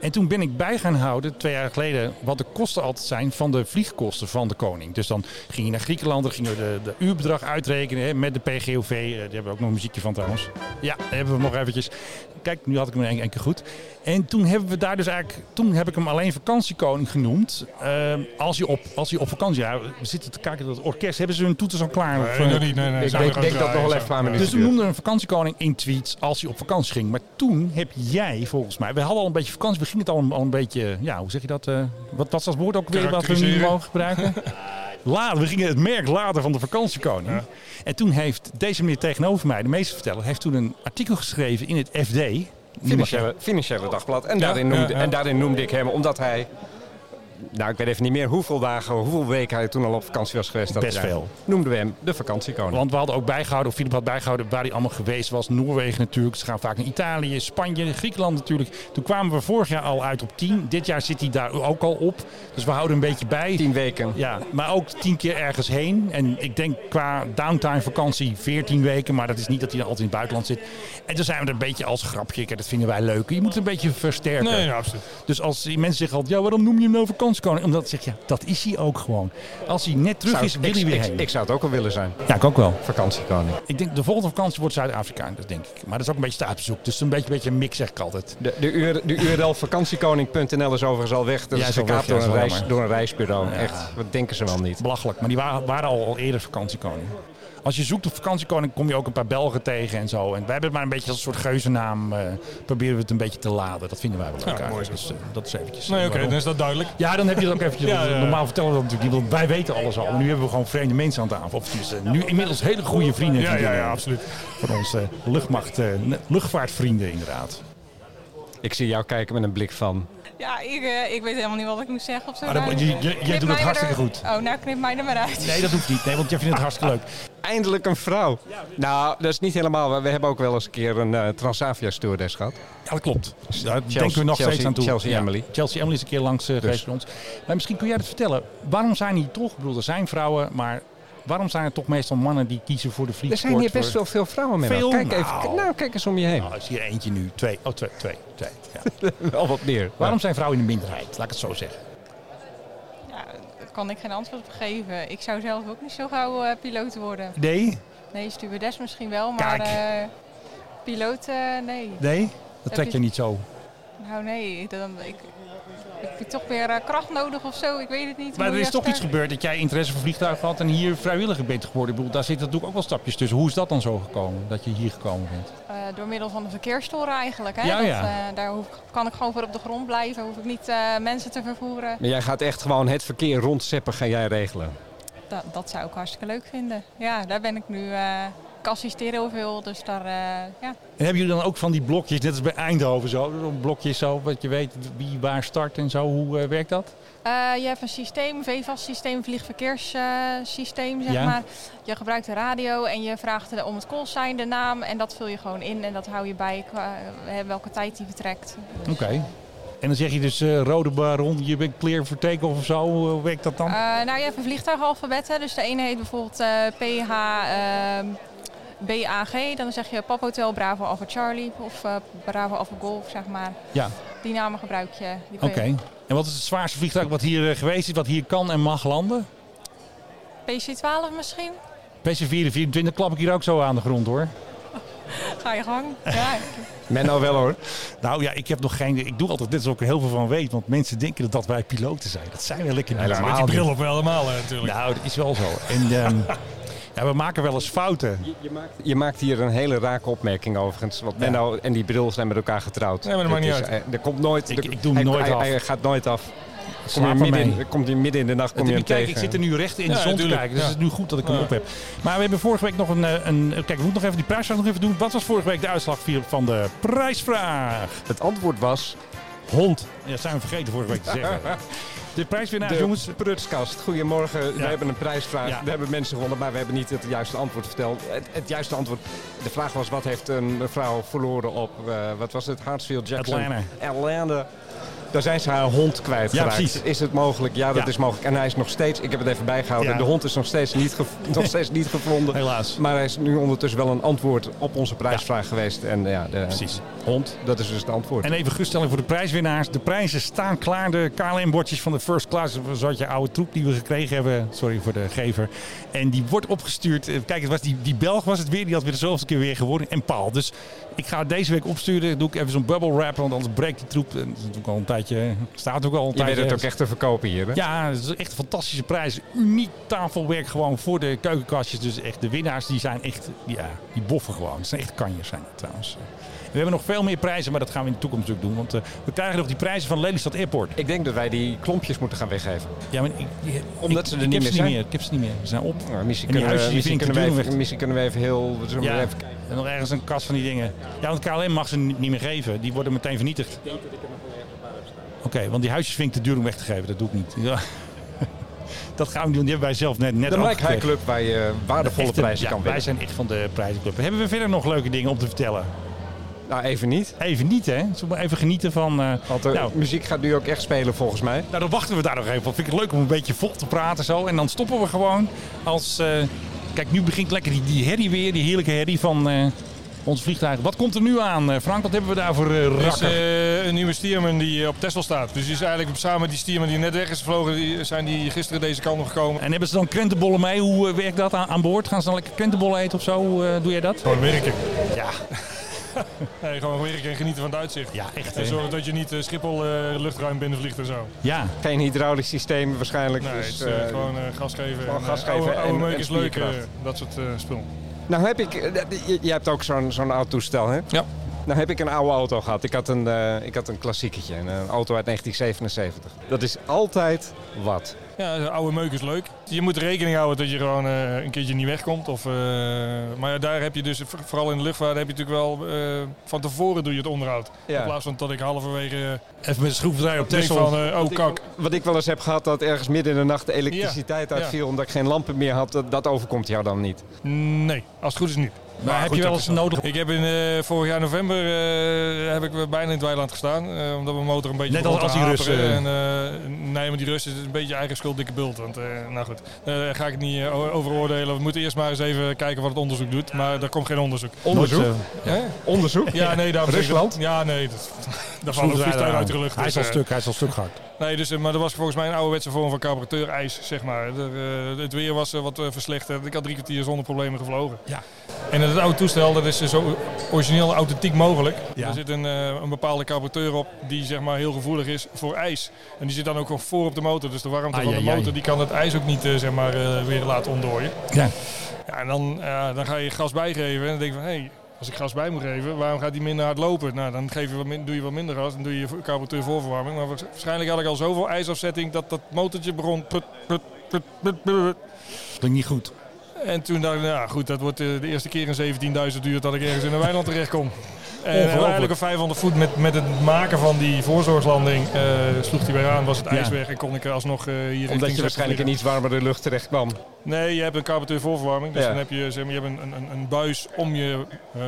S1: En toen ben ik bij gaan houden, twee jaar geleden, wat de kosten altijd zijn van de vliegkosten van de koning. Dus dan ging je naar Griekenland, dan gingen we de, de uurbedrag uitrekenen hè, met de PGOV. Eh, Daar hebben we ook nog een muziekje van trouwens. Ja, daar hebben we hem nog eventjes. Kijk, nu had ik hem in één één keer goed. En toen hebben we daar dus eigenlijk, toen heb ik hem alleen vakantiekoning genoemd. Ehm, als, hij op, als hij op vakantie, ja, we zitten te kijken dat het orkest, hebben ze hun toeters al klaar? Of,
S5: nee,
S1: eh,
S5: nog niet. Nee, nee,
S2: Ik
S5: zijn we
S2: denk,
S5: gaan
S2: denk dat nog
S5: draaien
S2: wel
S5: zo.
S2: even een paar
S5: Ja.
S2: minuten
S1: dus we
S2: duurt.
S1: noemden een vakantiekoning in tweets als hij op vakantie ging. Maar toen heb jij volgens mij, we hadden al een beetje vakantie, we gingen het al een, al een beetje, ja, hoe zeg je dat? eh, wat was dat woord ook weer wat we nu
S5: Karakteriseren.
S1: mogen gebruiken? Later, we gingen het merk later van de vakantiekoning. En toen heeft deze meneer tegenover mij, de meesterverteller, heeft toen een artikel geschreven in het FD.
S2: Financiële, financiële dagblad. En, daarin
S5: ja,
S2: noemde,
S5: ja.
S2: en daarin noemde ik hem, omdat hij... Nou, ik weet even niet meer hoeveel dagen, hoeveel weken hij toen al op vakantie was geweest. dat
S1: Best
S2: jaar.
S1: veel.
S2: Noemden we hem de vakantiekoning.
S1: Want we hadden ook bijgehouden, of Filip had bijgehouden, waar hij allemaal geweest was. Noorwegen natuurlijk. Ze gaan vaak naar Italië, Spanje, Griekenland natuurlijk. Toen kwamen we vorig jaar al uit op 10. Dit jaar zit hij daar ook al op. Dus we houden een beetje bij.
S2: Tien weken.
S1: Ja, maar ook tien keer ergens heen. En ik denk qua downtime vakantie 14 weken. Maar dat is niet dat hij dan altijd in het buitenland zit. En toen zijn we er een beetje als grapje. Kijk, dat vinden wij leuk. Je moet het een beetje versterken.
S5: Nee, nou, absoluut.
S1: Dus als die mensen zeggen altijd, ja, waarom noem je hem nou vakantiekoning? Omdat ik zeg, ja, dat is hij ook gewoon. Als hij net terug
S2: Zou
S1: is,
S2: ik-
S1: wil hij
S2: ik,
S1: weer
S2: ik-
S1: heen.
S2: ik zou het ook wel willen zijn,
S1: ja, ik ook wel.
S2: vakantiekoning.
S1: Ik denk de volgende vakantie wordt Zuid-Afrika, dat denk ik. Maar dat is ook een beetje staatsbezoek. Dus een beetje, beetje een mix, zeg ik altijd.
S2: De, de, UR de URL vakantiekoning.nl is overigens al weg. Dat
S1: Ja,
S2: is
S1: is al weg,
S2: gekaapt
S1: ja,
S2: door,
S1: is
S2: een
S1: wel
S2: reis,
S1: jammer.
S2: door een reisbureau. Echt, wat denken ze wel niet.
S1: Belachelijk, maar die waren, waren al, al eerder vakantiekoning. als je zoekt op vakantiekoning kom je ook een paar Belgen tegen en zo. En wij hebben het maar een beetje als een soort geuzennaam. eh, proberen we het een beetje te laden. Dat vinden wij wel leuk eigenlijk. Dus eh, dat is eventjes.
S5: Nee,
S1: eh,
S5: oké,
S1: waarom.
S5: dan is dat duidelijk.
S1: Ja, dan heb je dat ook eventjes.
S5: Ja, ja.
S1: Normaal vertellen we dat natuurlijk niet, want wij weten alles al. Maar nu hebben we gewoon vreemde mensen aan tafel. Of tenminste, nu inmiddels hele goede vrienden. en
S5: Ja, ja,
S1: vriendinnen
S5: ja, absoluut.
S1: Van onze luchtmacht, eh, luchtvaartvrienden inderdaad.
S2: Ik zie jou kijken met een blik van.
S3: Ja, ik, eh, ik weet helemaal niet wat ik moet zeggen op zo'n
S1: Maar Ah, dan-
S3: radio.
S1: je- je- jij
S3: Knip
S1: doet het
S3: mij maar
S1: hartstikke
S3: er-
S1: goed.
S3: Oh, nou knip mij er maar uit.
S1: Nee, dat hoeft niet. Nee, want jij vindt het hartstikke leuk.
S2: Eindelijk een vrouw. Nou, dat is niet helemaal. waar. We hebben ook wel eens een keer een eh, Transavia stewardess gehad.
S1: Ja, dat klopt. Dus Daar denken we nog
S2: Chelsea-
S1: steeds aan toe.
S2: Chelsea Dus.
S1: Ja.
S2: Emily.
S1: Chelsea Emily is een keer langs eh, geweest bij ons. Maar misschien kun jij dat vertellen. Waarom zijn die toch, ik bedoel, er zijn vrouwen, maar waarom zijn er toch meestal mannen die kiezen voor de
S2: Er
S1: vliegsport?
S2: zijn hier best
S1: voor-
S2: wel veel vrouwen mee.
S1: Veel?
S2: Kijk even,
S1: Nou.
S2: nou, kijk eens om je heen.
S1: Nou, is hier eentje nu. Twee. Oh, twee. Twee. twee. Ja.
S2: Wel wat meer.
S1: waarom zijn vrouwen in de minderheid? Laat ik het zo zeggen.
S3: Ja, daar kan ik geen antwoord op geven. Ik zou zelf ook niet zo gauw eh, piloot worden.
S1: Nee?
S3: Nee, stewardess misschien wel, maar
S1: Kijk.
S3: eh, piloot, eh, nee.
S1: Nee? Dat
S3: Heb
S1: trek je
S3: je-
S1: niet zo.
S3: Nou nee, dan, ik, ik heb toch weer eh, kracht nodig of zo, ik weet het niet.
S1: Maar er
S3: Moet
S1: is
S3: je
S1: toch
S3: echt
S1: iets
S3: er-
S1: gebeurd dat jij interesse voor vliegtuigen had en hier vrijwilliger bent geworden. Ik bedoel, daar zitten natuurlijk ook wel stapjes tussen. Hoe is dat dan zo gekomen, dat je hier gekomen bent?
S3: Eh, door middel van de verkeersstoren eigenlijk. Hè?
S1: Ja,
S3: Dat,
S1: ja.
S3: eh, daar hoef, ik- kan ik gewoon voor op de grond blijven, hoef ik niet eh, mensen te vervoeren.
S2: Maar jij gaat echt gewoon het verkeer rondzeppen, ga jij regelen.
S3: Da- dat zou ik hartstikke leuk vinden. Ja, daar ben ik nu... eh ik assisteer heel veel, dus daar... eh, ja.
S1: En hebben jullie dan ook van die blokjes, net als bij Eindhoven zo, zo'n blokjes zo, wat je weet wie waar start en zo, hoe eh, werkt dat?
S3: Eh, je hebt een systeem, VVAS-systeem, vliegverkeerssysteem, zeg
S1: Ja.
S3: maar. Je gebruikt de radio en je vraagt er om het callsign, de naam. En dat vul je gewoon in en dat hou je bij qua, eh, welke tijd die vertrekt.
S1: Oké. En dan zeg je dus eh, rode baron, je bent clear voor take-off of zo, hoe eh, werkt dat dan?
S3: Eh, nou, je hebt een vliegtuigalfabet. Hè. Dus de ene heet bijvoorbeeld eh, PH. ehm, BAG, dan zeg je Papa Hotel, Bravo Alpha Charlie of eh, Bravo Alpha Golf, zeg maar.
S1: ja,
S3: Die namen gebruik je. die
S1: oké. En wat is het zwaarste vliegtuig wat hier eh, geweest is, wat hier kan en mag landen?
S3: PC-12 misschien?
S1: PC 24 klap ik hier ook zo aan de grond hoor.
S3: Ga je gang. Ja.
S2: Menno wel hoor.
S1: Nou ja, ik heb nog geen. Ik doe altijd dit is ook heel veel van weet, want mensen denken dat, dat wij piloten zijn. Dat zijn we lekker niet.
S5: Met die bril op wel allemaal eh, natuurlijk.
S1: Nou, dat is wel zo. En ehm, ja, we maken wel eens fouten.
S2: Je maakt hier een hele rake opmerking overigens. Want Menno en die bril zijn met elkaar getrouwd.
S5: Nee, maar dat maakt
S2: Dit
S5: niet
S2: is- eh, Er komt nooit...
S1: Ik-
S2: er-
S1: ik doe hem
S2: hij-
S1: nooit
S2: hij,
S1: af.
S2: Hij gaat nooit af. Kom je
S1: Slaap
S2: midden
S1: ermee.
S2: in, komt hij midden in de nacht kom je hem
S1: Kijk,
S2: tegen.
S1: ik zit er nu recht in de
S5: Ja,
S1: zon te
S5: tuurlijk.
S1: kijken. Dus
S5: Ja.
S1: het is nu goed dat ik hem
S5: Ja.
S1: op heb. Maar we hebben vorige week nog een... eh, een kijk, we moeten nog even die prijsvraag nog even doen. Wat was vorige week de uitslag Philip, van de prijsvraag?
S2: Het antwoord was...
S1: Hond. Ja, dat zijn we vergeten vorige week te zeggen. De prijswinnaar,
S2: de
S1: jongens.
S2: prutskast. Goedemorgen, we hebben een prijsvraag.
S1: Ja.
S2: We hebben mensen gewonnen, maar we hebben niet het juiste antwoord verteld. Het, het juiste antwoord... De vraag was, wat heeft een vrouw verloren op... eh, wat was het? Hartsfield Jackson.
S1: Atlanta.
S2: Atlanta. Daar zijn ze haar hond kwijtgeraakt.
S1: Ja, precies.
S2: Is het mogelijk? Ja, dat
S1: Ja.
S2: is mogelijk. En hij is nog steeds... Ik heb het even bijgehouden.
S1: Ja.
S2: De hond is nog steeds niet, gev- nog steeds niet gevonden.
S1: Helaas.
S2: Maar hij is nu ondertussen wel een antwoord op onze prijsvraag geweest. En ja, de
S1: Precies.
S2: hond, dat is dus het antwoord.
S1: En even geruststelling voor de prijswinnaars. De prijzen staan klaar. De KLM-bordjes van de first class. Zoals je oude troep die we gekregen hebben. Sorry voor de gever. En die wordt opgestuurd. Eh, Kijk, het was die, die Belg was het weer. Die had weer de zoveelste keer weer geworden. En Paal. Dus ik ga het deze week opsturen. Doe ik even zo'n bubble wrap. Want anders breekt die troep. En dat is natuurlijk al een tijdje. Staat ook al een
S2: Je
S1: tijdje.
S2: weet het ook echt te verkopen hier, hè?
S1: Ja, het is echt een fantastische prijs. Uniek tafelwerk gewoon voor de keukenkastjes. Dus echt de winnaars die zijn echt, ja, die boffen gewoon. Het zijn echt kanjers zijn het trouwens. We hebben nog veel meer prijzen, maar dat gaan we in de toekomst ook doen. Want eh, we krijgen nog die prijzen van Lelystad Airport.
S2: Ik denk dat wij die klompjes moeten gaan weggeven.
S1: Ja, maar ik, ik-
S2: Omdat ze er
S1: ik
S2: niet
S1: heb
S2: meer zijn.
S1: Ik heb ze niet meer. Ze zijn op.
S2: Nou,
S1: En die
S2: misschien, kunnen
S1: huisjes
S2: we,
S1: die
S2: misschien,
S1: vind ik
S2: kunnen we
S1: te
S2: even,
S1: doen.
S2: misschien kunnen we even heel... we zullen
S1: Ja,
S2: even kijken.
S1: en nog ergens een kast van die dingen. Ja, want KLM mag ze niet meer geven. Die worden meteen vernietigd. Oké, want die huisjes vind ik te duur om weg te geven. Dat doe ik niet. Ja. Dat gaan we niet doen. Die hebben wij zelf net, net
S2: De
S1: ook
S2: Mike High
S1: gekregen.
S2: Club waar je eh, waardevolle
S1: Echte-
S2: prijzen
S1: ja,
S2: kan
S1: Wij
S2: winnen.
S1: zijn echt van de prijzenclub. Hebben we verder nog leuke dingen om te vertellen?
S2: Nou, even niet.
S1: Even niet, hè? Zullen we even genieten van... eh,
S2: Want de
S1: nou,
S2: muziek gaat nu ook echt spelen volgens mij.
S1: nou, dan wachten we daar nog even op. Vind ik het leuk om een beetje vol te praten zo. En dan stoppen we gewoon als... eh, kijk, nu begint lekker die, die herrie weer. Die heerlijke herrie van eh ons vliegtuig. Wat komt er nu aan, eh, Frank? Wat hebben we daar voor eh
S5: Er is
S1: rakker?
S5: eh, een nieuwe stierman die eh, op Tesla staat. Dus die is eigenlijk samen met die stierman die net weg is gevlogen, die, eh, zijn die gisteren deze kant op gekomen.
S1: En hebben ze dan krentenbollen mee? Hoe eh, werkt dat aan, aan boord? Gaan ze dan lekker krentenbollen eten of zo? Hoe eh, doe jij dat?
S5: Gewoon werken.
S1: Ja.
S5: Nee, gewoon werken en genieten van het uitzicht.
S1: Ja, echt.
S5: En
S1: hè?
S5: zorgen dat je niet eh, Schiphol eh, luchtruim binnenvliegt en zo.
S1: Ja,
S2: Geen hydraulisch systeem waarschijnlijk.
S5: Nee,
S2: dus,
S5: het is, eh,
S2: eh,
S5: gewoon eh, gas geven.
S2: gewoon
S5: en,
S2: gas
S5: eh,
S2: geven
S5: Oude, oude
S2: en-
S5: meuk
S2: en
S5: is leuk, eh,
S2: spierkracht.
S5: dat soort eh, spul.
S2: Nou heb ik, eh, je- je hebt ook zo'n zo'n oud toestel, hè?
S5: Ja.
S2: Nou heb ik een oude auto gehad. Ik had een, eh, ik had een klassieketje, een, eh, auto uit 1977. Dat is altijd wat.
S5: Ja, de oude meuk is leuk. Je moet rekening houden dat je gewoon eh, een keertje niet wegkomt. Of, eh, maar ja, daar heb je dus, voor- vooral in de luchtvaart, heb je natuurlijk wel eh, van tevoren doe je het onderhoud.
S2: Ja.
S5: In plaats van dat ik halverwege eh,
S1: even met de schroevendraaier op
S5: denk
S1: Texel.
S5: van, eh, oh kak.
S2: Wat ik wel eens heb gehad, dat ergens midden in de nacht de elektriciteit
S5: Ja, ja.
S2: uitviel... omdat ik geen lampen meer had, dat, dat overkomt jou dan niet.
S5: Nee, als het goed is niet.
S1: Maar heb
S5: goed,
S1: je wel
S5: dat
S1: eens
S5: is
S1: nodig
S5: Ik heb in, eh, vorig jaar november eh, heb ik weer bijna in het weiland gestaan. eh, omdat mijn motor een beetje
S1: Net
S5: begon
S1: als-
S5: te
S1: als die
S5: haperen. En, eh, nee, maar die Russen is een beetje eigen schuld, dikke bult. Want eh, nou goed, eh, daar ga ik het niet eh, over overoordelen. We moeten eerst maar eens even kijken wat het onderzoek doet. Maar er komt geen onderzoek.
S2: Onderzoek?
S1: Nooit, eh,
S5: Hè?
S2: Onderzoek?
S5: Ja, nee, daar
S2: Rusland?
S5: Ja, nee, dat, daar vallen vliegtuigen
S1: schroevendraaier
S5: uit de
S1: aan.
S5: lucht.
S1: Hij
S5: dus,
S1: is al
S5: eh,
S1: stuk, hij is al stuk gehakt.
S5: Nee, dus, eh, maar dat was volgens mij een ouderwetse vorm van carburateur-ijs, zeg maar. Er, eh, het weer was eh, wat eh, verslechterd. Ik had drie kwartier zonder problemen gevlogen.
S1: Ja.
S5: En het oude toestel, dat is eh, zo origineel en authentiek mogelijk.
S1: Ja.
S5: Er zit een, eh, een bepaalde carburateur op die zeg maar, heel gevoelig is voor ijs. En die zit dan ook nog voor op de motor. Dus de warmte
S1: Ai,
S5: van de
S1: ai, ai.
S5: motor die kan het ijs ook niet eh, zeg maar, eh, weer laten ontdooien.
S1: Ja.
S5: Ja, en dan, ja, dan ga je gas bijgeven en dan denk je van... Hey, als ik gas bij moet geven, waarom gaat die minder hard lopen? Nou, dan geef je wat min- doe je wat minder gas, dan doe je carburateur voorverwarming. Maar waarsch- waarschijnlijk had ik al zoveel ijsafzetting dat dat motortje begon... prut, prut, prut, prut, prut.
S1: Klinkt niet goed.
S5: En toen dacht ik, nou ja, goed, dat wordt eh, de eerste keer in 17.000 uur dat ik ergens in een weiland terechtkom. En
S1: Ongelooflijk.
S5: eigenlijk op 500 voet met, met het maken van die voorzorgslanding eh, sloeg hij weer aan, was het
S1: Ja.
S5: ijs weg en kon ik er alsnog eh, hier richting
S2: Omdat je
S5: Zetten
S2: waarschijnlijk
S5: vliegen.
S2: in iets warmere lucht terecht kwam.
S5: Nee, je hebt een carburateur voorverwarming. Dus
S2: Ja.
S5: dan heb je, zeg maar, je hebt een, een, een buis om je eh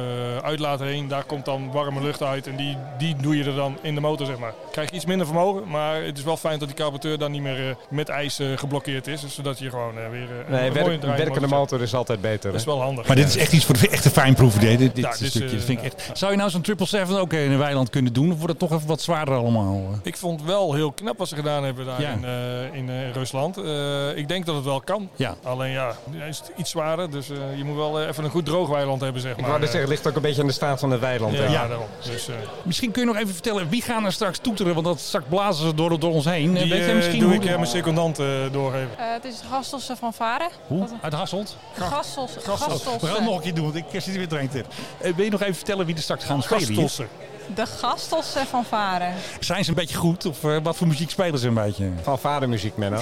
S5: uitlaat heen. Daar komt dan warme lucht uit. En die, die doe je er dan in de motor, zeg maar. Krijg je iets minder vermogen. Maar het is wel fijn dat die carburateur dan niet meer eh, met ijs eh, geblokkeerd is. Zodat je gewoon eh, weer eh, een,
S2: Nee,
S5: een
S2: werk-
S5: mooie draai
S2: werkende motor is altijd beter.
S5: Dat
S2: hè?
S5: is wel handig.
S1: Maar dit is echt iets voor de echte fijnproeven. Dit, dit, dit
S5: Ja,
S1: is
S5: dit
S1: een
S5: is,
S1: stukje.
S5: eh,
S1: dat vind ik echt. Zou je nou zo'n 777 ook in een weiland kunnen doen? Of wordt het toch even wat zwaarder allemaal? eh?
S5: Ik vond wel heel knap wat ze gedaan hebben daar
S1: Ja.
S5: in, eh, in eh, Rusland. Eh, ik denk dat het wel kan.
S1: Ja.
S5: Alleen ja, hij is iets zwaarder. Dus eh, je moet wel eh, even een goed droog weiland hebben, zeg
S2: Ik
S5: maar.
S2: wou net
S5: Eh,
S2: zeggen, het ligt ook een beetje aan de staat van het weiland.
S5: ja,
S2: hè?
S5: daarom. Dus, eh,
S1: Misschien kun je nog even vertellen wie gaan er straks toeteren? Want dat straks blazen ze door, door ons heen.
S5: Die,
S1: Weet jij
S5: eh,
S1: misschien
S5: doe
S1: hoe
S5: ik
S1: die-
S5: eh, mijn secondant eh, doorgeven.
S3: Eh, het is Gastelse van Varen.
S1: Hoe? Uit Hasselt? Oh,
S3: Gastelse.
S1: We gaan het nog een keer doen, want ik eh, zit er weer te in. wil je nog even vertellen wie er straks gaan spelen? hier?
S5: Gastossen.
S3: De Gastelse van Varen.
S1: Zijn ze een beetje goed? Of eh, wat voor muziek spelen ze een beetje?
S5: Eh,
S2: Van vadermuziek, Menno.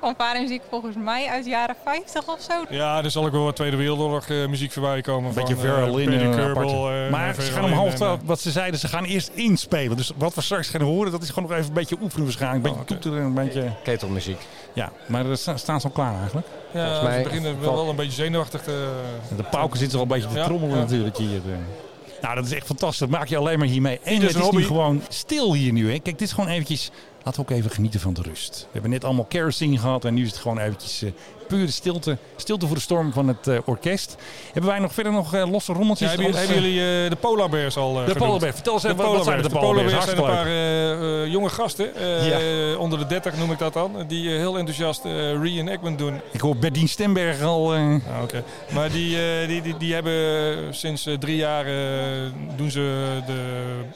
S3: Van Varenmuziek volgens mij uit de jaren 50 of zo.
S5: Ja, er zal ook wel wat Tweede Wereldoorlog eh, muziek voorbij komen.
S1: Een beetje
S5: van, eh,
S1: Verlin.
S5: Peter
S1: Uh,
S5: Kerbal, eh,
S1: maar ze
S5: Verlin
S1: gaan om half
S5: en,
S1: twaalf, wat ze zeiden, ze gaan eerst inspelen. Dus wat we straks gaan horen, dat is gewoon nog even een beetje oefenen waarschijnlijk.
S5: Oh,
S1: Een beetje toeteren, een beetje...
S2: Ketelmuziek.
S1: Ja, maar er sta- staan ze al klaar eigenlijk.
S5: eh, ja,
S2: volgens
S5: volgens
S2: mij-
S5: mij. beginnen wel, wel een beetje zenuwachtig te...
S1: De pauken zitten er al een beetje te
S5: Ja,
S1: trommelen
S5: ja.
S1: natuurlijk hier. eh. Nou, dat is echt fantastisch. Dat maak je alleen maar hiermee. En
S5: Ieder
S1: het
S5: zijn
S1: is nu
S5: hobby.
S1: gewoon stil hier nu. Hè. Kijk, dit is gewoon eventjes... Laten we ook even genieten van de rust. We hebben net allemaal kerosine gehad. En nu is het gewoon eventjes eh, pure stilte. Stilte voor de storm van het eh, orkest. Hebben wij nog verder nog eh, losse
S5: Ja,
S1: rommeltjes?
S5: hebben, jullie-
S1: Anders,
S5: hebben jullie eh, de Polar Bears al eh,
S1: eh, de
S5: genoemd?
S1: Polarbeer. Vertel eens
S5: De
S1: even, wat-
S5: Polar
S1: wat zijn
S5: Bears.
S1: de
S5: De Polar
S1: Polarbeers?
S5: Bears zijn een
S1: Hartstikke
S5: paar
S1: leuk.
S5: eh, eh, jonge gasten, eh, onder de 30 noem ik dat dan, die eh, heel enthousiast eh reenactment doen
S1: Ik hoor Berdien Stemberg al... eh,
S5: Ah, oké. Maar die, eh, die, die, die hebben sinds eh, drie jaar eh, doen ze de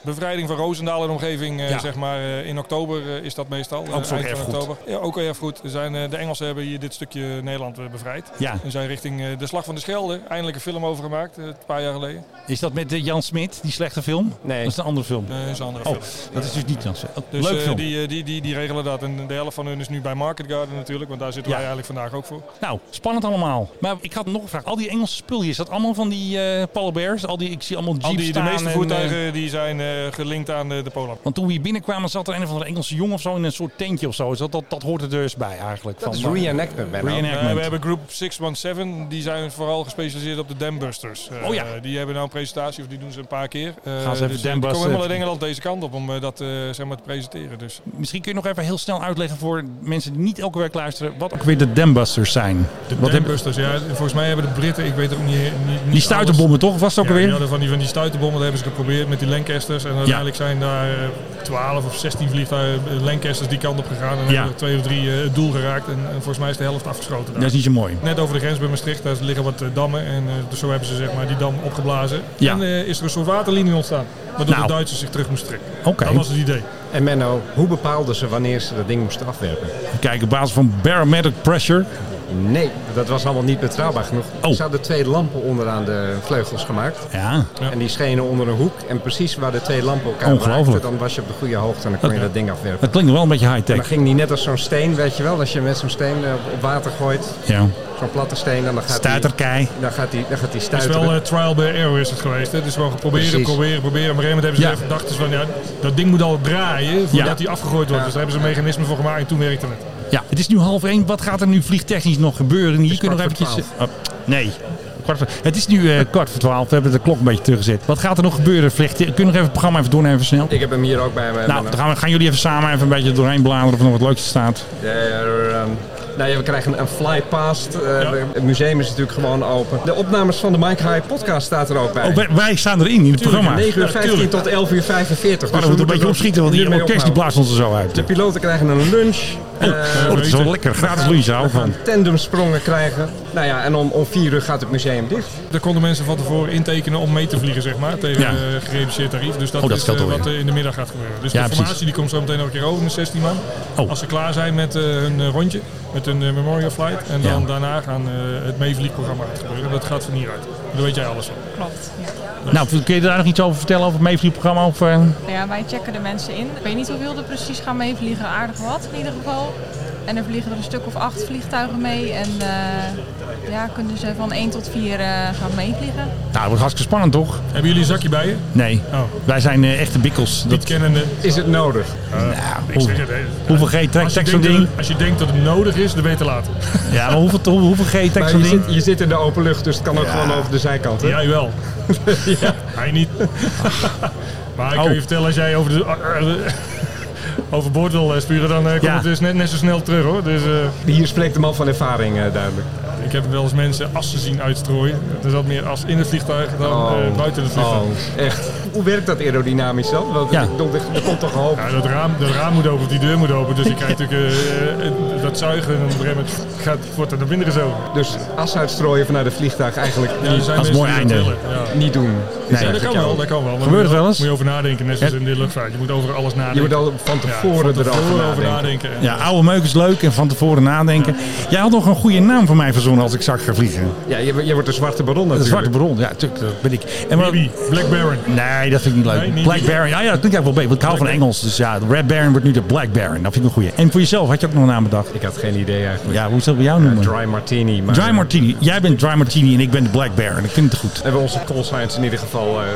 S5: bevrijding van Roosendaal en omgeving. eh,
S1: Ja.
S5: Zeg maar, eh, in oktober eh, is dat meestal. eh,
S1: Ook zo'n
S5: eind van
S1: erfgoed.
S5: oktober. Ja, ook een erfgoed. Er Zijn, eh, de Engelsen hebben hier dit stukje Nederland eh, bevrijd.
S1: ja,
S5: En zijn richting eh, de Slag van de Schelde. Eindelijk een film over gemaakt, eh, een paar jaar geleden.
S1: is dat met eh, Jan Smit, die slechte film?
S2: Nee.
S1: Dat is een andere film.
S5: Eh, is een andere
S1: Oh,
S5: film.
S1: dat is dus niet Jan Smit. Oh,
S5: Dus
S1: Leuk
S5: eh,
S1: film.
S5: die, eh, die, die, die regelen dat. En de helft van hun is nu bij Market Garden natuurlijk. Want daar zitten
S1: Ja.
S5: wij eigenlijk vandaag ook voor.
S1: Nou, spannend allemaal. Maar ik had nog een vraag. Al die Engelse spullen, is dat allemaal van die eh Paul Bears? Al die, ik zie allemaal jeeps
S5: Al die, de
S1: staan
S5: meeste
S1: en,
S5: voertuigen
S1: eh,
S5: die zijn eh, gelinkt aan eh, de Polar.
S1: want toen we hier binnenkwamen zat er een of andere Engelse jongen of zo in een soort tentje of zo. Is dat, dat, dat hoort er dus bij eigenlijk.
S2: Dat is
S1: maar-
S2: reenactment, Menno.
S1: Reenactment.
S5: Eh, we hebben Group 617, die zijn vooral gespecialiseerd op de dambusters. Eh,
S1: Oh ja.
S5: Die hebben nou een presentatie, of die doen ze een paar keer. Eh,
S1: Gaan ze even
S5: dus, eh,
S1: dambusters
S5: Die komen helemaal uit
S1: even-
S5: Engeland deze kant op om eh, dat eh, zeg maar te presenteren. Dus.
S1: Misschien kun je nog even heel snel uitleggen voor mensen die niet elke week luisteren. Wat ook weer de Dambusters zijn. Wat hebben-
S5: ja. Volgens mij hebben de Britten, ik weet ook niet... niet
S1: die stuiterbommen toch? Was het ook
S5: Ja, die
S1: alweer?
S5: hadden van die, van die stuiterbommen, dat hebben ze geprobeerd met die Lancasters. En uiteindelijk zijn daar eh, 12 of 16 vliegtuigen eh, Lancasters die kant op gegaan. En
S1: Ja.
S5: hebben er twee of drie eh, het doel geraakt. En, en volgens mij is de helft afgeschoten. Daar.
S1: Dat is niet zo mooi.
S5: Net over de grens bij Maastricht, daar liggen wat eh, dammen. En eh, dus zo hebben ze zeg maar, die dam opgeblazen.
S1: Ja.
S5: En eh, is er een soort waterlinie ontstaan. Waardoor
S1: Nou.
S5: de Duitsers zich terug moesten trekken.
S1: Oké.
S5: Dat was het idee.
S2: En Menno, hoe bepaalden ze wanneer ze dat ding moesten afwerpen?
S1: Kijk, op basis van barometric pressure.
S2: Nee, dat was allemaal niet betrouwbaar genoeg.
S1: Oh.
S2: Er zouden twee lampen onderaan de vleugels gemaakt.
S1: Ja,
S5: Ja.
S2: En die schenen onder een hoek. En precies waar de twee lampen elkaar
S1: Ongelooflijk.
S2: raakten, dan was je op de goede hoogte en dan kon je
S1: Dat-
S2: dat ding afwerpen.
S1: dat klinkt wel een beetje
S2: En dan
S1: high-tech.
S2: ging die net als zo'n steen, weet je wel. Als je met zo'n steen eh, op- op water gooit,
S1: Ja.
S2: zo'n platte steen, dan dan gaat die...
S1: Stuiterkei.
S2: Dan gaat die, dan gaat die
S5: Het is
S2: stuiteren.
S5: wel eh, trial by error is het geweest. Hè? Het is gewoon proberen,
S2: Precies.
S5: proberen, proberen. Op een gegeven moment hebben ze
S1: Ja.
S5: even gedacht dus van, ja, dat ding moet al draaien voordat
S1: Ja.
S5: hij afgegooid wordt.
S2: Ja.
S5: Dus daar hebben ze een mechanisme voor gemaakt en toen werkte het.
S1: Ja, het is nu half één. Wat gaat er nu vliegtechnisch nog gebeuren? Hier kunnen we nog
S2: kwart
S1: eventjes... Oh, nee. Kwart voor- het is nu eh, kwart voor twaalf. We hebben de klok een beetje teruggezet. Wat gaat er nog gebeuren? Vliegt... Kunnen we nog even het programma even doornemen, even snel?
S2: Ik heb hem hier ook bij me.
S1: eh, Nou,
S2: Menno.
S1: dan gaan, we, gaan jullie even samen even een beetje doorheen bladeren of er nog wat leuks staat.
S2: Er, ehm, nou ja, we krijgen een fly past. eh, we- Het museum is natuurlijk gewoon open. De opnames van de Mike High podcast staat er ook bij.
S1: Oh, wij, wij staan erin in het programma.
S2: 9 uur
S1: Ja, tuurlijk.
S2: 15 tot 11 uur dus 45.
S1: Maar dan moeten we een beetje opschieten, want die orkest die blaast ons er zo uit.
S2: De piloten krijgen een lunch. eh,
S1: Oh, dat is wel lekker. Gratis lunch hou ik van.
S2: Tandemsprongen krijgen. Nou ja, en om, om 4 uur gaat het museum dicht.
S5: Daar konden mensen van tevoren intekenen om mee te vliegen, zeg maar, tegen
S1: Ja.
S5: eh gereduceerd tarief. Dus dat,
S1: Oh, dat
S5: is
S1: scheelt
S5: eh,
S1: alweer.
S5: wat eh, in de middag gaat gebeuren. Dus
S1: Ja,
S5: de
S1: precies.
S5: formatie die komt zo meteen ook een keer over, de 16 man.
S1: Oh.
S5: Als ze klaar zijn met eh, hun eh, rondje, met hun eh, memorial flight. En dan
S1: Ja.
S5: daarna gaan eh, het meevliegprogramma gaat gebeuren. Dat gaat van hieruit. Daar weet jij alles van.
S3: Klopt. Ja.
S1: Nou, kun je daar nog iets over vertellen over het meevliegprogramma? Of, eh,
S3: Nou ja, wij checken de mensen in. Ik weet niet hoeveel er precies gaan meevliegen, aardig wat in ieder geval. En er vliegen er een stuk of acht vliegtuigen mee. En eh, ja, kunnen ze van één tot vier eh, gaan meevliegen.
S1: Nou, dat wordt hartstikke spannend, toch?
S5: Hebben jullie een zakje bij je?
S1: Nee.
S5: Oh.
S1: Wij zijn eh, echte bikkels.
S5: Niet
S1: Dat,
S5: kennende.
S2: Is het nodig?
S1: nou,
S5: Ik
S1: hoe-
S5: zeg het, hè.
S1: hoeveel G trekt
S5: Als je,
S1: trekt zo'n
S5: denkt
S1: ding?
S5: dat, als je denkt dat het nodig is, dan beter later.
S1: Ja, maar hoeveel, hoe- hoeveel G trekt
S2: Maar
S1: zo'n
S2: je,
S1: ding?
S2: zit, je zit in de open lucht, dus het kan ook gewoon over de zijkant. Hè?
S5: Jij wel. ja. Hij niet. maar ik
S1: Oh.
S5: kan je vertellen, als jij over de, eh, overboord wil eh, spuren, dan eh, komt
S1: Ja.
S5: het dus net, net zo snel terug hoor. Dus eh,
S2: Hier spreekt de man van ervaring eh, duidelijk.
S5: ik heb wel eens mensen assen zien uitstrooien. Er zat meer as in het vliegtuig dan eh, buiten het vliegtuig.
S2: Oh, echt. Hoe werkt dat aerodynamisch dan? Want
S1: Ja.
S2: ik bedoel, er er komt toch een hoop
S5: Ja, dat, raam, dat raam moet open of die deur moet open. Dus je krijgt natuurlijk eh, eh, dat zuigen en op een gegeven moment gaat, wordt er naar binnen gezogen.
S2: Dus as uitstrooien vanuit het vliegtuig eigenlijk
S5: Ja, er zijn
S1: Dat is
S5: mensen
S1: mooi
S5: die
S1: einde.
S5: willen, ja.
S2: niet doen.
S1: Nee.
S5: Ja, dat kan wel, dat kan wel.
S1: Gebeurt
S5: Maar
S1: het
S5: moet je
S1: wel eens?
S5: Moet je over nadenken, net zoals in de luchtvaart. Je moet over alles nadenken.
S2: Je moet al van
S5: Ja,
S2: tevoren erover
S5: van tevoren over
S2: nadenken.
S5: nadenken. En
S1: Ja, oude meuk is leuk en van tevoren nadenken. Jij had nog een goede naam voor mij verzonnen als ik zak ga vliegen.
S2: Ja, je, je wordt de zwarte baron
S1: De
S2: natuurlijk.
S1: Zwarte Baron, ja, natuurlijk, dat ben ik. En maar-
S5: Bibi, Black Baron.
S1: Nee, dat vind ik niet leuk.
S5: Nee, niet
S1: Black
S5: die-
S1: Baron, ja, ja, dat klinkt eigenlijk wel beter. want Ik hou van Engels, dus ja, de Red Baron wordt nu de Black Baron. Dat vind ik een goeie. En voor jezelf had je ook nog een naam bedacht.
S2: Ik had geen idee eigenlijk.
S1: Ja, hoe zou ik jou noemen?
S2: Dry Martini. Maar
S1: Dry Martini. Jij bent Dry Martini en ik ben de Black Baron. Ik vind het goed.
S2: Hebben we onze call signs in ieder geval eh,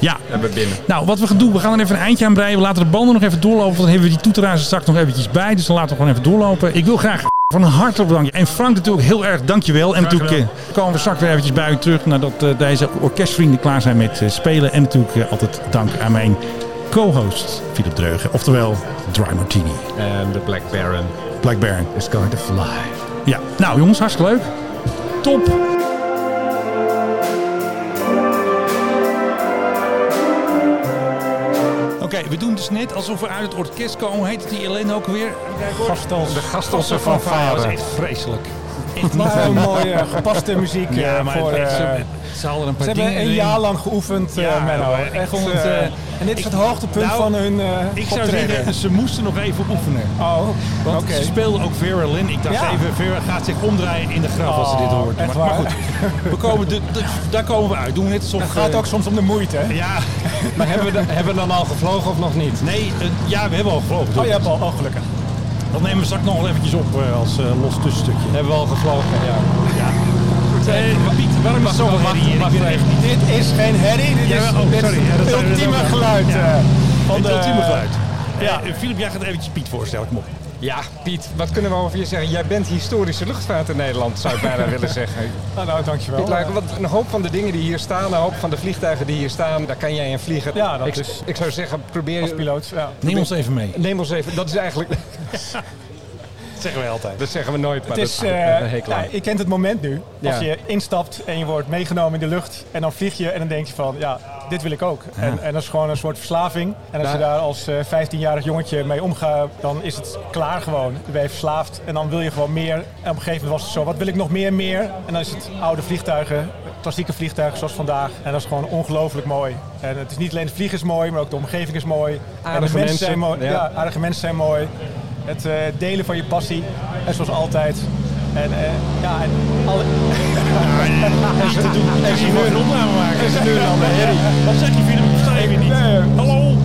S1: Ja.
S2: hebben we binnen.
S1: Nou, wat we gaan doen, we gaan er even een eindje aan breien. We laten de banden nog even doorlopen. want Dan hebben we die toeteraars er straks nog eventjes bij. Dus dan laten we gewoon even doorlopen. Ik wil graag van harte bedanken. En Frank natuurlijk heel erg dankjewel. En natuurlijk eh, komen we straks weer eventjes bij u terug. Nadat eh, deze orkestvrienden klaar zijn met eh, spelen. En natuurlijk eh, altijd dank aan mijn co-host Philip Dreugen. Oftewel Dry Martini.
S2: En de Black Baron
S1: Black Baron.
S2: is going to fly.
S1: Ja. Nou jongens, hartstikke leuk. Top. Oké, we doen dus net alsof we uit het orkest komen. Hoe heet die Ellen ook weer?
S7: Gastelsen. De Gastelsen
S1: van
S7: van
S1: Varen.
S7: Varen.
S1: echt vreselijk.
S7: Maar een mooie gepaste muziek eh,
S1: Ja, maar
S7: voor...
S1: het-
S7: eh,
S1: ze, ze hadden een
S7: ze
S1: paar
S7: hebben
S1: dingen
S7: een
S1: erin.
S7: jaar lang geoefend, eh,
S1: Ja,
S7: Menno.
S1: maar ik
S7: Echt,
S1: vond het,
S7: eh,
S1: eh,
S7: en dit is
S1: ik-
S7: het hoogtepunt
S1: nou,
S7: van hun eh
S1: Ik zou
S7: optreden.
S1: zeggen, ze moesten nog even oefenen.
S7: Oh, oké.
S1: Want ze speelde ook Vera Lynn. Ik dacht
S7: Ja.
S1: even, Vera gaat zich omdraaien in de graf als ze dit
S7: Oh,
S1: hoort.
S7: echt
S1: maar, maar
S7: waar?
S1: goed, we komen de, de- daar komen we uit. Doen we net alsof...
S7: Het gaat
S1: eh,
S7: ook soms om de moeite, hè?
S1: Ja,
S2: Maar hebben we, da- hebben we dan al gevlogen of nog niet?
S1: nee, eh, ja, we hebben al gevlogen.
S7: Oh, je hebt al, oh, gelukkig.
S1: Dat nemen we straks nog wel eventjes op eh, als eh, los tussenstukje.
S2: Hebben we al gevlogen, ja.
S1: Eh, Piet, waarom is zoveel herrie hier? Ik vind het echt niet.
S7: Dit is geen herrie, dit
S1: Ja,
S7: is
S1: oh,
S7: dit is
S1: sorry. Ja, dat
S7: het
S1: zou je
S7: ultieme
S1: dan ook-
S7: geluid.
S1: Ja.
S7: eh, van
S1: Het
S7: de-
S1: ultieme geluid.
S7: Ja.
S1: Eh, Filip, jij gaat eventjes Piet voorstellen. Kom op.
S2: Ja, Piet, wat kunnen we over je zeggen? Jij bent historische luchtvaart in Nederland, zou ik bijna willen zeggen.
S7: Nou, nou, dankjewel.
S2: Piet Luiken, want een hoop van de dingen die hier staan, een hoop van de vliegtuigen die hier staan, daar kan jij in vliegen.
S7: Ja, dat
S2: ik,
S7: is-
S2: ik zou zeggen, probeer
S7: Als piloot, ja.
S1: Neem ons even mee.
S2: Neem ons even, dat is eigenlijk,
S1: Dat zeggen wij altijd.
S2: dat zeggen we nooit, maar
S7: Het is,
S2: dat
S7: eh,
S2: een hekel aan.
S7: ja, je kent het moment nu. Als
S2: Ja.
S7: je instapt en je wordt meegenomen in de lucht en dan vlieg je en dan denk je van, ja, dit wil ik ook. En, en dat is gewoon een soort verslaving. En als je daar als eh, 15-jarig jongetje mee omgaat, dan is het klaar gewoon. Dan ben je verslaafd en dan wil je gewoon meer. En op een gegeven moment was het zo, wat wil ik nog meer, meer? En dan is het oude vliegtuigen, klassieke vliegtuigen zoals vandaag. En dat is gewoon ongelooflijk mooi. En het is niet alleen het vliegen is mooi, maar ook de omgeving is mooi. en de
S2: Aardige mensen,
S7: zijn mooi.
S2: ja.
S7: ja, aardige mensen zijn mooi. Het eh, delen van je passie. En zoals altijd. En eh, ja, en alle...
S1: En ze willen een opname maken.
S7: Ze doen dan, Harry.
S1: Wat zeg je, Philip? Versta je weer niet?
S7: Nee.
S1: Hallo?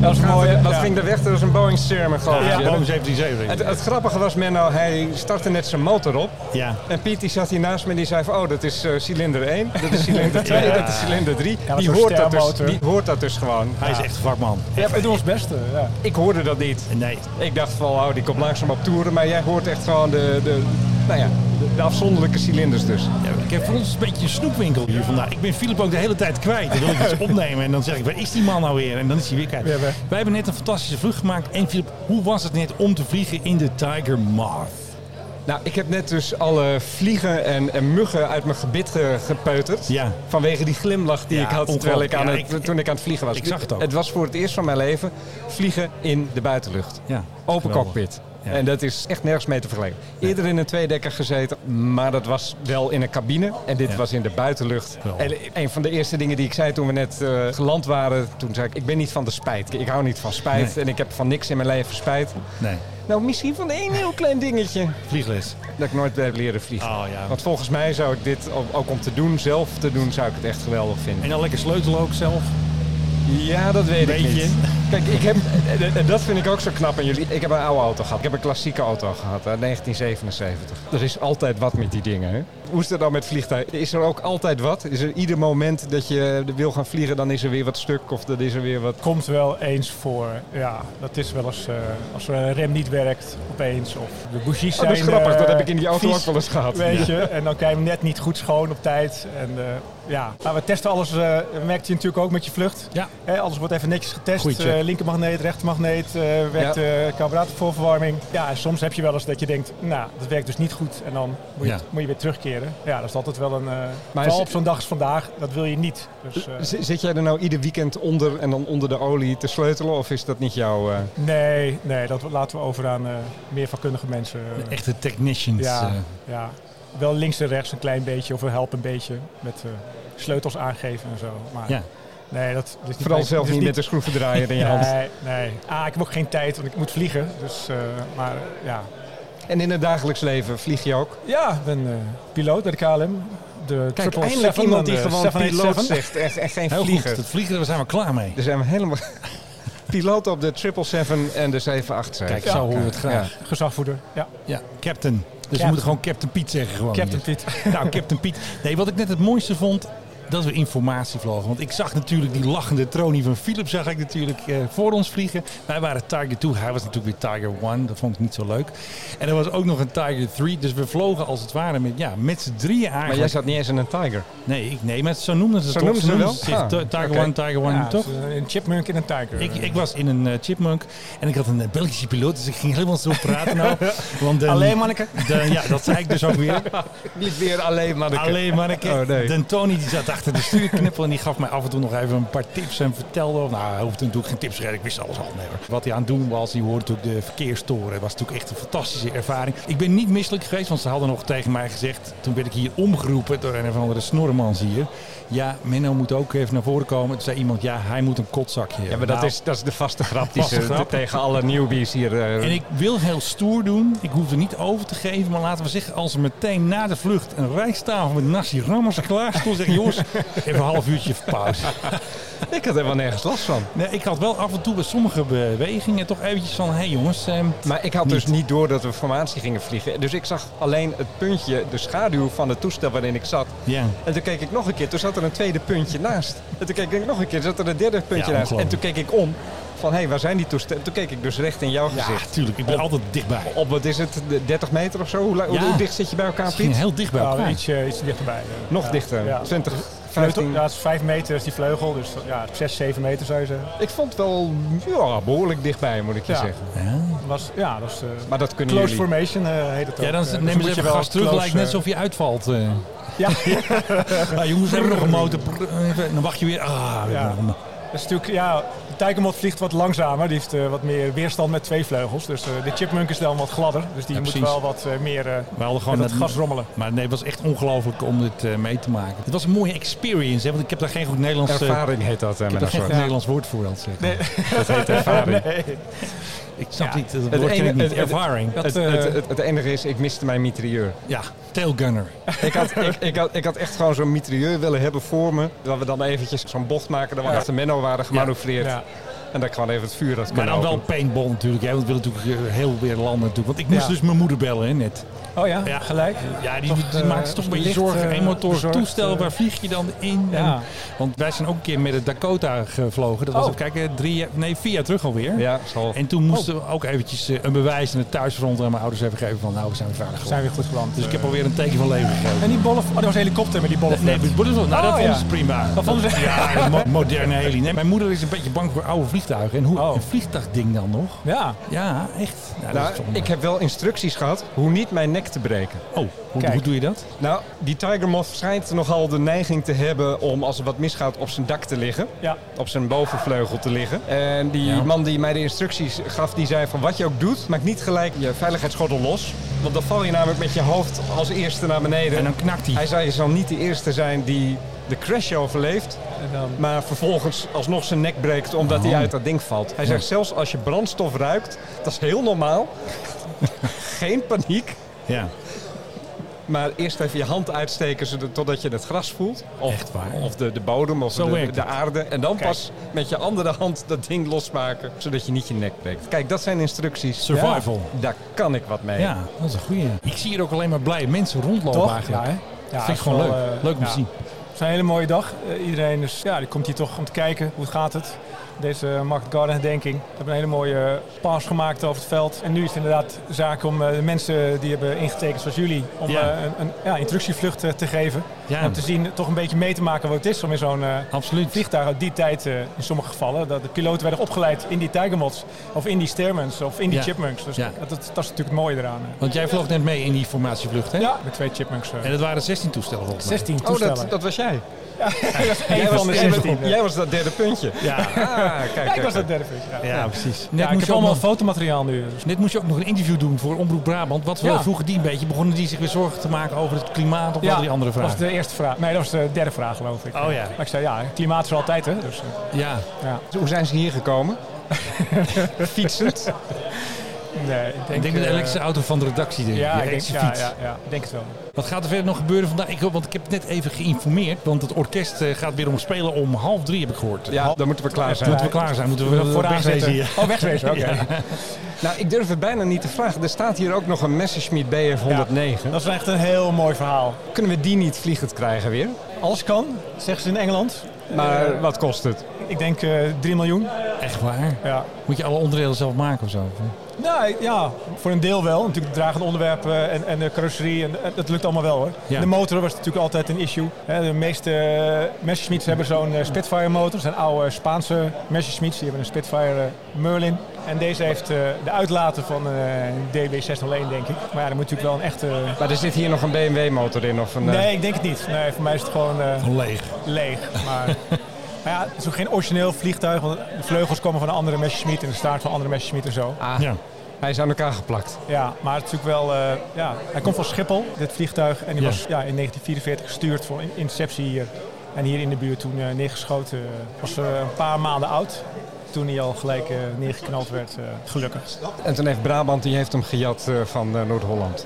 S7: Dat is mooi. hè?
S2: Wat
S7: Ja.
S2: ging de weg? Dat is een Boeing Cermer, geloof ik.
S1: Ja,
S2: Ja.
S1: Boeing 737.
S2: Het, het grappige was, Menno, hij startte net zijn motor op.
S1: Ja.
S2: En Piet die zat hier naast me en die zei van, oh, dat is eh, cilinder 1, dat is cilinder 2,
S1: Ja.
S2: dat is cilinder 3.
S7: dat is
S2: die,
S7: een
S2: hoort dat dus,
S7: stermotor.
S2: die hoort dat dus gewoon.
S1: Hij is echt een vakman.
S7: Ja, we doen ons beste. Ja.
S2: Ik hoorde dat niet.
S1: Nee.
S2: Ik dacht van, oh, die komt langzaam op toeren, maar jij hoort echt gewoon de, de, nou ja, de, de afzonderlijke cilinders dus.
S1: Ja, ik heb voor ons een beetje een snoepwinkel hier vandaag. Ik ben Philip ook de hele tijd kwijt. Dan wil ik iets opnemen en dan zeg ik, waar is die man nou weer? En dan is hij weer kwijt.
S7: Ja,
S1: Wij
S7: we-
S1: hebben net een fantastische vlucht gemaakt. En Philip, hoe was het net om te vliegen in de Tiger Moth?
S2: Nou, ik heb net dus alle vliegen en, en muggen uit mijn gebit ge- gepeuterd.
S1: Ja.
S2: Vanwege die glimlach die
S1: Ja,
S2: ik had terwijl
S1: ongelooflijk.
S2: ik aan
S1: Ja,
S2: het,
S1: ik-
S2: toen ik aan het vliegen was.
S1: ik zag het ook.
S2: Het was voor het eerst van mijn leven vliegen in de buitenlucht.
S1: Ja,
S2: Open
S1: geweldig.
S2: cockpit.
S1: Ja.
S2: En dat is echt nergens mee te vergelijken. Eerder in een tweedekker gezeten, maar dat was wel in een cabine. En dit
S1: Ja.
S2: was in de buitenlucht. En
S1: Geweldig.
S2: een van de eerste dingen die ik zei toen we net eh, geland waren, toen zei ik, ik ben niet van de spijt. Ik hou niet van spijt
S1: Nee.
S2: en ik heb van niks in mijn leven spijt.
S1: Nee,
S2: Nou, misschien van één heel klein dingetje.
S1: vliegles.
S2: Dat ik nooit heb leren vliegen.
S1: Oh, ja.
S2: Want volgens mij zou ik dit, ook- ook om te doen, zelf te doen, zou ik het echt geweldig vinden.
S1: En dan nou lekker sleutel ook zelf.
S2: Ja, dat weet ik
S1: Beetje.
S2: niet. Kijk, ik heb, en- en dat vind ik ook zo knap aan jullie. Ik heb een oude auto gehad. Ik heb een klassieke auto gehad uit 1977. Er is altijd wat met die dingen. Hè? Hoe is dat dan met vliegtuigen? Is er ook altijd wat? Is er ieder moment dat je wil gaan vliegen, dan is er weer wat stuk of dan is er weer wat...
S7: Komt wel eens voor, ja, dat is wel eens eh, als er een rem niet werkt opeens. Of de bougies
S2: Oh,
S7: zijn...
S2: dat is grappig,
S7: eh,
S2: dat heb ik in die auto
S7: vies,
S2: ook wel eens gehad.
S7: Weet je, en dan krijg je hem net niet goed schoon op tijd. En eh, ja, maar we testen alles, eh merkt je natuurlijk ook met je vlucht.
S1: Ja.
S7: Hè, alles wordt even netjes
S1: Goed,
S7: getest.
S1: check.
S7: Eh, linkermagneet, rechtermagneet, eh werkt
S2: Ja.
S7: de carburator voor verwarming. Ja, en soms heb je wel eens dat je denkt, nou, dat werkt dus niet goed. En dan moet je,
S1: Ja.
S7: moet je weer terugkeren. Ja, dat is altijd wel een... eh
S2: is-
S7: vooral op zo'n dag als vandaag, dat wil je niet. Dus, eh,
S2: Z- Zit jij er nou ieder weekend onder en dan onder de olie te sleutelen of is dat niet jouw... eh,
S7: Nee, nee, dat laten we over aan eh, meer vakkundige mensen. eh,
S1: Echte technicians.
S7: ja,
S1: eh.
S7: ja, wel links en rechts een klein beetje, of we helpen een beetje met eh, sleutels aangeven en zo. Maar
S1: Ja.
S7: nee, dat dat is dus niet
S2: Vooral
S7: mijn-
S2: zelf
S7: dat is
S2: niet met een schroevendraaier in je hand.
S7: Nee, nee. Ah, ik heb ook geen tijd, want ik moet vliegen. Dus, eh, maar eh, ja.
S2: En in het dagelijks leven vlieg je ook.
S7: Ja, ik ben eh, piloot bij de KLM. De
S2: Kijk,
S7: 777
S2: eindelijk iemand eh, die
S7: en de
S2: gewoon piloot
S7: 787.
S2: zegt en, en geen
S1: Heel
S2: vlieger.
S1: goed. Dat vliegen, daar zijn we klaar mee.
S2: Er zijn we helemaal... piloot op de 777 en de 787.
S1: Kijk, zo horen we het graag. Ja,
S7: Gezagvoerder, ja.
S1: captain. Dus we
S7: Captain.
S1: moeten gewoon Captain Piet zeggen. Gewoon.
S7: Captain Piet.
S1: Nou, Captain Piet. Nee, wat ik net het mooiste vond, dat we informatie vlogen. Want ik zag natuurlijk die lachende tronie van Philip, zag ik natuurlijk eh, voor ons vliegen. Wij waren Tiger 2, hij was natuurlijk weer Tiger 1. Dat vond ik niet zo leuk. En er was ook nog een Tiger 3. Dus we vlogen als het ware met, ja, met z'n drieën
S2: Maar jij
S1: eigenlijk.
S2: zat niet eens in een Tiger.
S1: Nee, ik, nee, maar zo noemden ze het
S2: Zo
S1: toch?
S2: noemden ze wel?
S1: zich
S2: Ah,
S1: Ti- Tiger
S2: oké.
S1: 1, Tiger 1
S7: Ja,
S1: toch?
S7: het is eh, Een chipmunk in een tiger.
S1: Ik, ik was in een eh, chipmunk en ik had een eh, Belgische piloot, dus ik ging helemaal zo praten nou. Want de-
S7: Alleen manneke.
S1: de- ja, dat zei ik dus ook weer.
S2: Niet weer alleen maar de...
S1: Alleen maar een keer.
S2: Oh, nee.
S1: Den Tony die zat achter de stuurknippel en die gaf mij af en toe nog even een paar tips en vertelde. of- Nou, hij hoefde natuurlijk geen tips te geven, ik wist alles al. Nee, hoor. Wat hij aan het doen was, die hoorde natuurlijk de verkeerstoren. Het was natuurlijk echt een fantastische ervaring. Ik ben niet misselijk geweest, want ze hadden nog tegen mij gezegd. Toen werd ik hier omgeroepen door een of andere snormans hier. Ja, Menno moet ook even naar voren komen. Toen zei iemand, ja, hij moet een kotzakje hebben.
S2: Ja, maar dat,
S1: Nou,
S2: is, dat is de vaste grap die
S1: Vaste
S2: ze
S1: grap.
S2: tegen alle newbies hier... eh,
S1: En ik wil heel stoer doen. Ik hoef er niet over te geven. Maar laten we zeggen, als er meteen na de vlucht een rijsttafel met nasi rammers klaar stond, zeg ik, jongens, even een half uurtje pauze.
S2: ik had er wel nergens last van.
S1: Nee, ik had wel af en toe bij sommige bewegingen toch eventjes van, hé hey jongens, ehm,
S2: Maar ik had dus niet door dat we formatie gingen vliegen. Dus ik zag alleen het puntje, de schaduw van het toestel waarin ik zat.
S1: Ja.
S2: En toen keek ik nog een keer, toen zat er een tweede puntje naast. En toen keek ik nog een keer, toen zat er een derde puntje
S1: Ja,
S2: naast. En toen
S1: ongelooflijk.
S2: keek ik om, van hé, waar zijn die toestellen? Toen keek ik dus recht in jouw
S1: ja,
S2: gezicht.
S1: Ah, tuurlijk, ik ben altijd dichtbij.
S2: Op wat is het, de 30 meter of zo? Hoe, la-
S1: Ja.
S2: hoe dicht zit je bij elkaar,
S1: Het ging
S2: Piet?
S1: heel dicht bij
S7: Nou,
S1: elkaar.
S7: ietsje, ietsje dichterbij. eh.
S2: Nog
S7: Ja,
S2: dichter,
S7: ja.
S2: 20,
S7: Vleugel,
S2: 15.
S7: ja, het is 5 meter is die vleugel, dus ja, 6, 7 meter zou je zeggen.
S2: Ik vond het wel ja, behoorlijk dichtbij, moet ik je
S7: Ja.
S2: zeggen.
S1: Ja.
S7: was, ja, dat is, eh,
S2: Maar dat kunnen
S7: Close
S2: jullie.
S7: formation eh, heet het ook.
S1: Ja, dan
S7: Eh, dus
S1: neem
S7: moet
S1: eens
S7: je
S1: even
S7: wel
S1: gas terug.
S7: close,
S1: Lijkt net
S7: eh,
S1: alsof je uitvalt. eh.
S7: Ja,
S1: Nou, jongens, we hebben nog een motor. Brrr, even. Dan wacht je weer. Ah, we
S7: Ja.
S1: hebben nog een-
S7: dat is natuurlijk, ja, de Tijkenmot vliegt wat langzamer. Die heeft eh, wat meer weerstand met twee vleugels. Dus eh, de Chipmunk is dan wat gladder. Dus die
S1: Ja,
S7: moet
S1: precies.
S7: wel wat eh, meer eh
S1: We hadden gewoon
S7: met dat
S1: dat-
S7: gas rommelen.
S1: Maar nee, het was echt ongelooflijk om dit eh, mee te maken. Het was een mooie experience, hè, want ik heb daar geen goed Nederlands, eh, ik
S2: Ervaring heet dat, eh,
S1: heb
S2: met
S1: daar geen
S2: een
S1: goed
S2: soort.
S1: Nederlands woord voor. Dat, zeg.
S2: Dat heet ervaring.
S1: Ik snap niet, dat
S2: Het
S1: woord ken
S2: ene-
S1: ik niet.
S2: het- het-
S1: Ervaring. Dat,
S2: Het,
S1: eh,
S2: het, het, het enige is, ik miste mijn mitrailleur.
S1: ja, tailgunner.
S2: Ik had, ik, ik, had, ik had echt gewoon zo'n mitrailleur willen hebben voor me. Dat we dan eventjes zo'n bocht maken, dat we achter Menno waren gemanoeuvreerd.
S7: Ja.
S2: En dat ik gewoon even het vuur had
S1: Maar
S2: kunnen
S1: dan wel
S2: openen.
S1: paintball natuurlijk, hè, want we willen natuurlijk eh, heel weer landen natuurlijk. Want ik moest
S7: Ja.
S1: dus mijn moeder bellen, hè, net.
S7: Oh ja,
S1: Ja.
S7: gelijk.
S1: Ja, die,
S7: Toch,
S1: die
S7: eh,
S1: maakt ze toch een beetje
S7: licht,
S1: zorgen.
S7: eh,
S1: Eén motor,
S7: bezorgd,
S1: toestel,
S7: eh.
S1: waar vlieg je dan in? En-
S7: Ja.
S1: want wij zijn ook een keer met de Dakota gevlogen. Dat was,
S7: Oh.
S1: even kijken, drie, jaar- nee, vier jaar terug alweer.
S2: Ja, zal.
S1: En toen moesten we ook eventjes eh, een bewijs in het thuisfront aan mijn ouders even geven van nou, we zijn veilig
S7: Zijn
S1: geworden.
S7: weer goed geland. eh.
S1: Dus ik heb alweer een teken van leven gegeven.
S7: En die bollen... Oh, dat was een helikopter met die bollen.
S1: Nee,
S7: vlucht.
S1: maar dat was- nou, dat
S7: Oh,
S1: vonden
S7: ja.
S1: ze prima.
S7: Dat vonden ze-
S1: Ja, dat mo- moderne heli. Nee, mijn moeder is een beetje bang voor oude vliegtuigen. En hoe
S7: Oh.
S1: een vliegtuigding dan nog?
S7: Ja,
S1: Ja, echt. Nou, dat
S2: Nou,
S1: is zonde.
S2: ik heb wel instructies gehad hoe niet mijn nek te breken.
S1: Oh, hoe,
S7: Kijk.
S1: hoe doe je dat?
S2: Nou, die Tiger Moth schijnt nogal de neiging te hebben om als er wat misgaat op zijn dak te liggen.
S7: ja.
S2: Op zijn bovenvleugel te liggen. En die
S1: Ja.
S2: man die mij de instructies gaf, die zei van wat je ook doet, maak niet gelijk je veiligheidsschotel los. Want dan val je namelijk met je hoofd als eerste naar beneden.
S1: En dan knakt
S2: Hij
S1: hij.
S2: zei, je zal niet de eerste zijn die de crash overleeft,
S7: En dan...
S2: maar vervolgens alsnog zijn nek breekt omdat
S1: Oh.
S2: hij uit dat ding valt. Hij zegt, zelfs als je brandstof ruikt, dat is heel normaal. Geen paniek.
S1: Ja.
S2: Maar eerst even je hand uitsteken zodat- totdat je het gras voelt. Of,
S1: Echt waar?
S2: of de, de bodem of
S1: Zo
S2: de,
S1: werkt
S2: de
S1: het.
S2: aarde. En dan pas met je andere hand dat ding losmaken, zodat je niet je nek breekt. Kijk, dat zijn instructies.
S1: Survival.
S2: Ja, daar kan ik wat mee.
S1: Ja, dat is een goeie. Ik zie hier ook alleen maar blije mensen rondlopen
S7: Toch?
S1: eigenlijk.
S7: Ja, hè?
S1: dat
S7: dat
S1: vind
S7: is
S1: ik gewoon
S7: wel,
S1: leuk.
S7: eh,
S1: leuk om te
S7: ja.
S1: zien.
S7: Het is een hele mooie dag. Eh, iedereen is, ja, die komt hier toch om te kijken hoe gaat het. Deze eh, Market Garden herdenking. We hebben een hele mooie pass gemaakt over het veld. En nu is het inderdaad zaak om eh, de mensen die hebben ingetekend zoals jullie... om
S1: Ja.
S7: eh, een, een ja, instructievlucht eh, te geven.
S1: Ja.
S7: En om te zien, toch een beetje mee te maken wat het is om in zo'n eh,
S1: Absoluut.
S7: vliegtuig uit die tijd eh, in sommige gevallen... dat de piloten werden opgeleid in die Tigermods of in die Stairmans of in die
S1: Ja.
S7: Chipmunks. Dus
S1: Ja.
S7: dat, dat, dat is natuurlijk het mooie eraan. eh.
S1: Want jij vloog net mee in die formatievlucht, hè?
S7: Ja, met twee Chipmunks. eh,
S1: En dat waren 16 toestellen volgens mij.
S7: 16
S2: Oh,
S7: toestellen.
S2: dat, dat was jij.
S7: Eén van de
S2: jij,
S7: 16.
S2: jij was dat derde puntje.
S1: Ja,
S2: Ah, kijk,
S7: Ja, ik
S2: kijk,
S7: was
S2: kijk.
S7: dat derde puntje. Ja.
S1: ja, precies. Net
S7: Ja, ik
S1: moest
S7: heb
S1: je ook
S7: allemaal
S1: nog,
S7: fotomateriaal nu. dus-
S1: net moest je ook nog een interview doen voor Omroep Brabant. Wat we
S7: Ja.
S1: vroegen die een beetje. Begonnen die zich weer zorgen te maken over het klimaat of al die andere
S7: dat
S1: vragen?
S7: was de eerste vraag. Nee, dat was de derde vraag, geloof ik.
S1: Oh ja.
S7: Maar ik zei, ja, klimaat is er altijd, hè. Dus, eh,
S1: Ja,
S7: ja.
S2: Hoe zijn ze hier gekomen? Fietsend.
S7: Nee, ik
S1: ik
S7: denk...
S1: denk met de
S7: eh,
S1: elektrische auto van de redactie. Denk ik.
S7: ja,
S1: De
S7: ik denk,
S1: elektrische
S7: ja,
S1: fiets.
S7: ja, ja, ik denk het wel.
S1: Wat gaat er verder nog gebeuren vandaag? Ik, hoop- want ik heb het net even geïnformeerd. Want het orkest eh, gaat weer om spelen om half drie, heb ik gehoord.
S2: Ja, dan moeten we klaar zijn.
S1: Moeten we klaar zijn? Moeten we vooraan
S7: zitten.
S1: zitten hier?
S7: Oh, wegwezen, oké.
S2: Nou, ik durf het bijna niet te vragen. Er staat hier ook nog een Messerschmitt Bf 109.
S7: Dat is echt een heel mooi verhaal.
S2: Kunnen we die niet vliegend krijgen weer?
S7: Alles kan, zeggen ze in Engeland.
S2: Maar wat kost het?
S7: Ik denk eh 3 miljoen.
S1: Echt waar?
S7: Ja.
S1: Moet je alle onderdelen zelf maken of zo? of, eh?
S7: Nou ik- ja, voor een deel wel. Natuurlijk de dragende onderwerpen en, en de carrosserie, en, en dat lukt allemaal wel hoor.
S1: Ja.
S7: De motor was natuurlijk altijd een issue. Hè, de meeste eh, Messerschmitts hebben zo'n eh, Spitfire motor. Dat zijn oude Spaanse Messerschmitts, die hebben een Spitfire eh, Merlin. En deze heeft eh, de uitlaten van eh, een DB601 denk ik. Maar ja, dan moet natuurlijk wel een echte...
S2: Maar er zit hier nog een BMW motor in of een... eh,
S7: Nee, ik denk het niet. Nee, voor mij is het gewoon eh,
S1: Leeg.
S7: leeg. Maar, maar ja, het is ook geen origineel vliegtuig, want de vleugels komen van een andere Messerschmitt en de staart van een andere Messerschmitt en zo.
S2: Ah,
S1: Ja.
S2: hij is aan elkaar geplakt.
S7: Ja, maar het is natuurlijk wel. eh, ja, hij komt van Schiphol, dit vliegtuig. En die
S1: Ja.
S7: was ja, in 1944 gestuurd voor in- interceptie hier. En hier in de buurt toen eh, neergeschoten. eh, was eh, een paar maanden oud. Toen hij al gelijk eh, neergeknald werd, eh, gelukkig.
S2: En toen heeft Brabant, die heeft hem gejat eh, van eh, Noord-Holland.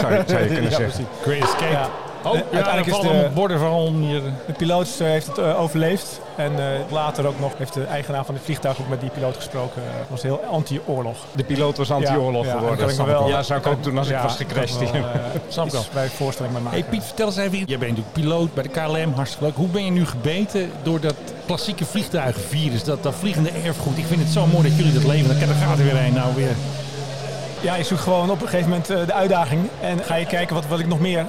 S2: zou, je- zou je kunnen
S7: Ja,
S2: zeggen.
S1: Great Escape.
S7: Ja.
S1: Oh,
S7: Eh,
S1: uiteindelijk is de borden van hier.
S7: De piloot eh, heeft het eh, overleefd. En eh, later ook nog heeft de eigenaar van het vliegtuig ook met die piloot gesproken. Eh, was heel anti-oorlog.
S2: De piloot was anti-oorlog
S7: Ja, ja,
S2: geworden.
S7: dat kan ik me wel-
S2: ja, zou ik ook doen als
S7: Ja,
S2: ik was gecrashed
S7: dat
S2: hier.
S7: wel, eh,
S1: Snap ik
S7: iets
S1: wel.
S7: bij voorstelling mee maken.
S1: Hey Piet, vertel eens even. Jij bent natuurlijk piloot bij de KLM, hartstikke leuk. Hoe ben je nu gebeten door dat klassieke vliegtuigvirus, dat, dat vliegende erfgoed? Ik vind het zo mooi dat jullie dat leven. Dan gaat er weer een nou weer.
S7: Ja, je zoekt gewoon op een gegeven moment eh, de uitdaging. En ga je kijken wat wil ik nog meer.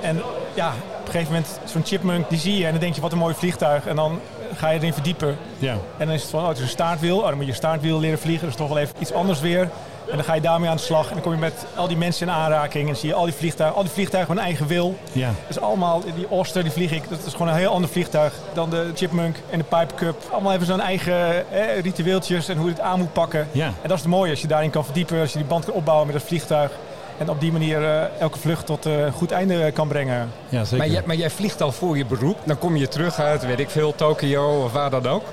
S7: En ja, op een gegeven moment zo'n chipmunk, die zie je. En dan denk je, wat een mooi vliegtuig. En dan ga je erin verdiepen.
S1: Ja.
S7: En dan is het van, oh, het is een staartwiel. Oh, dan moet je staartwiel leren vliegen. Dat is toch wel even iets anders weer. En dan ga je daarmee aan de slag. En dan kom je met al die mensen in aanraking. En dan zie je al die vliegtuigen. Al die vliegtuigen hun eigen wil.
S1: Ja.
S7: Dat is allemaal, die Oster, die vlieg ik. Dat is gewoon een heel ander vliegtuig dan de Chipmunk en de Pipe Cup. Allemaal hebben zo'n eigen eh, ritueeltjes en hoe je het aan moet pakken.
S1: Ja.
S7: En dat is het mooie, als je daarin kan verdiepen. Als je die band kan opbouwen met dat vliegtuig. En op die manier eh, elke vlucht tot eh, een goed einde eh, kan brengen.
S1: ja, zeker.
S2: Maar jij, maar jij vliegt al voor je beroep. Dan kom je terug uit, weet ik veel, Tokio of waar dan ook.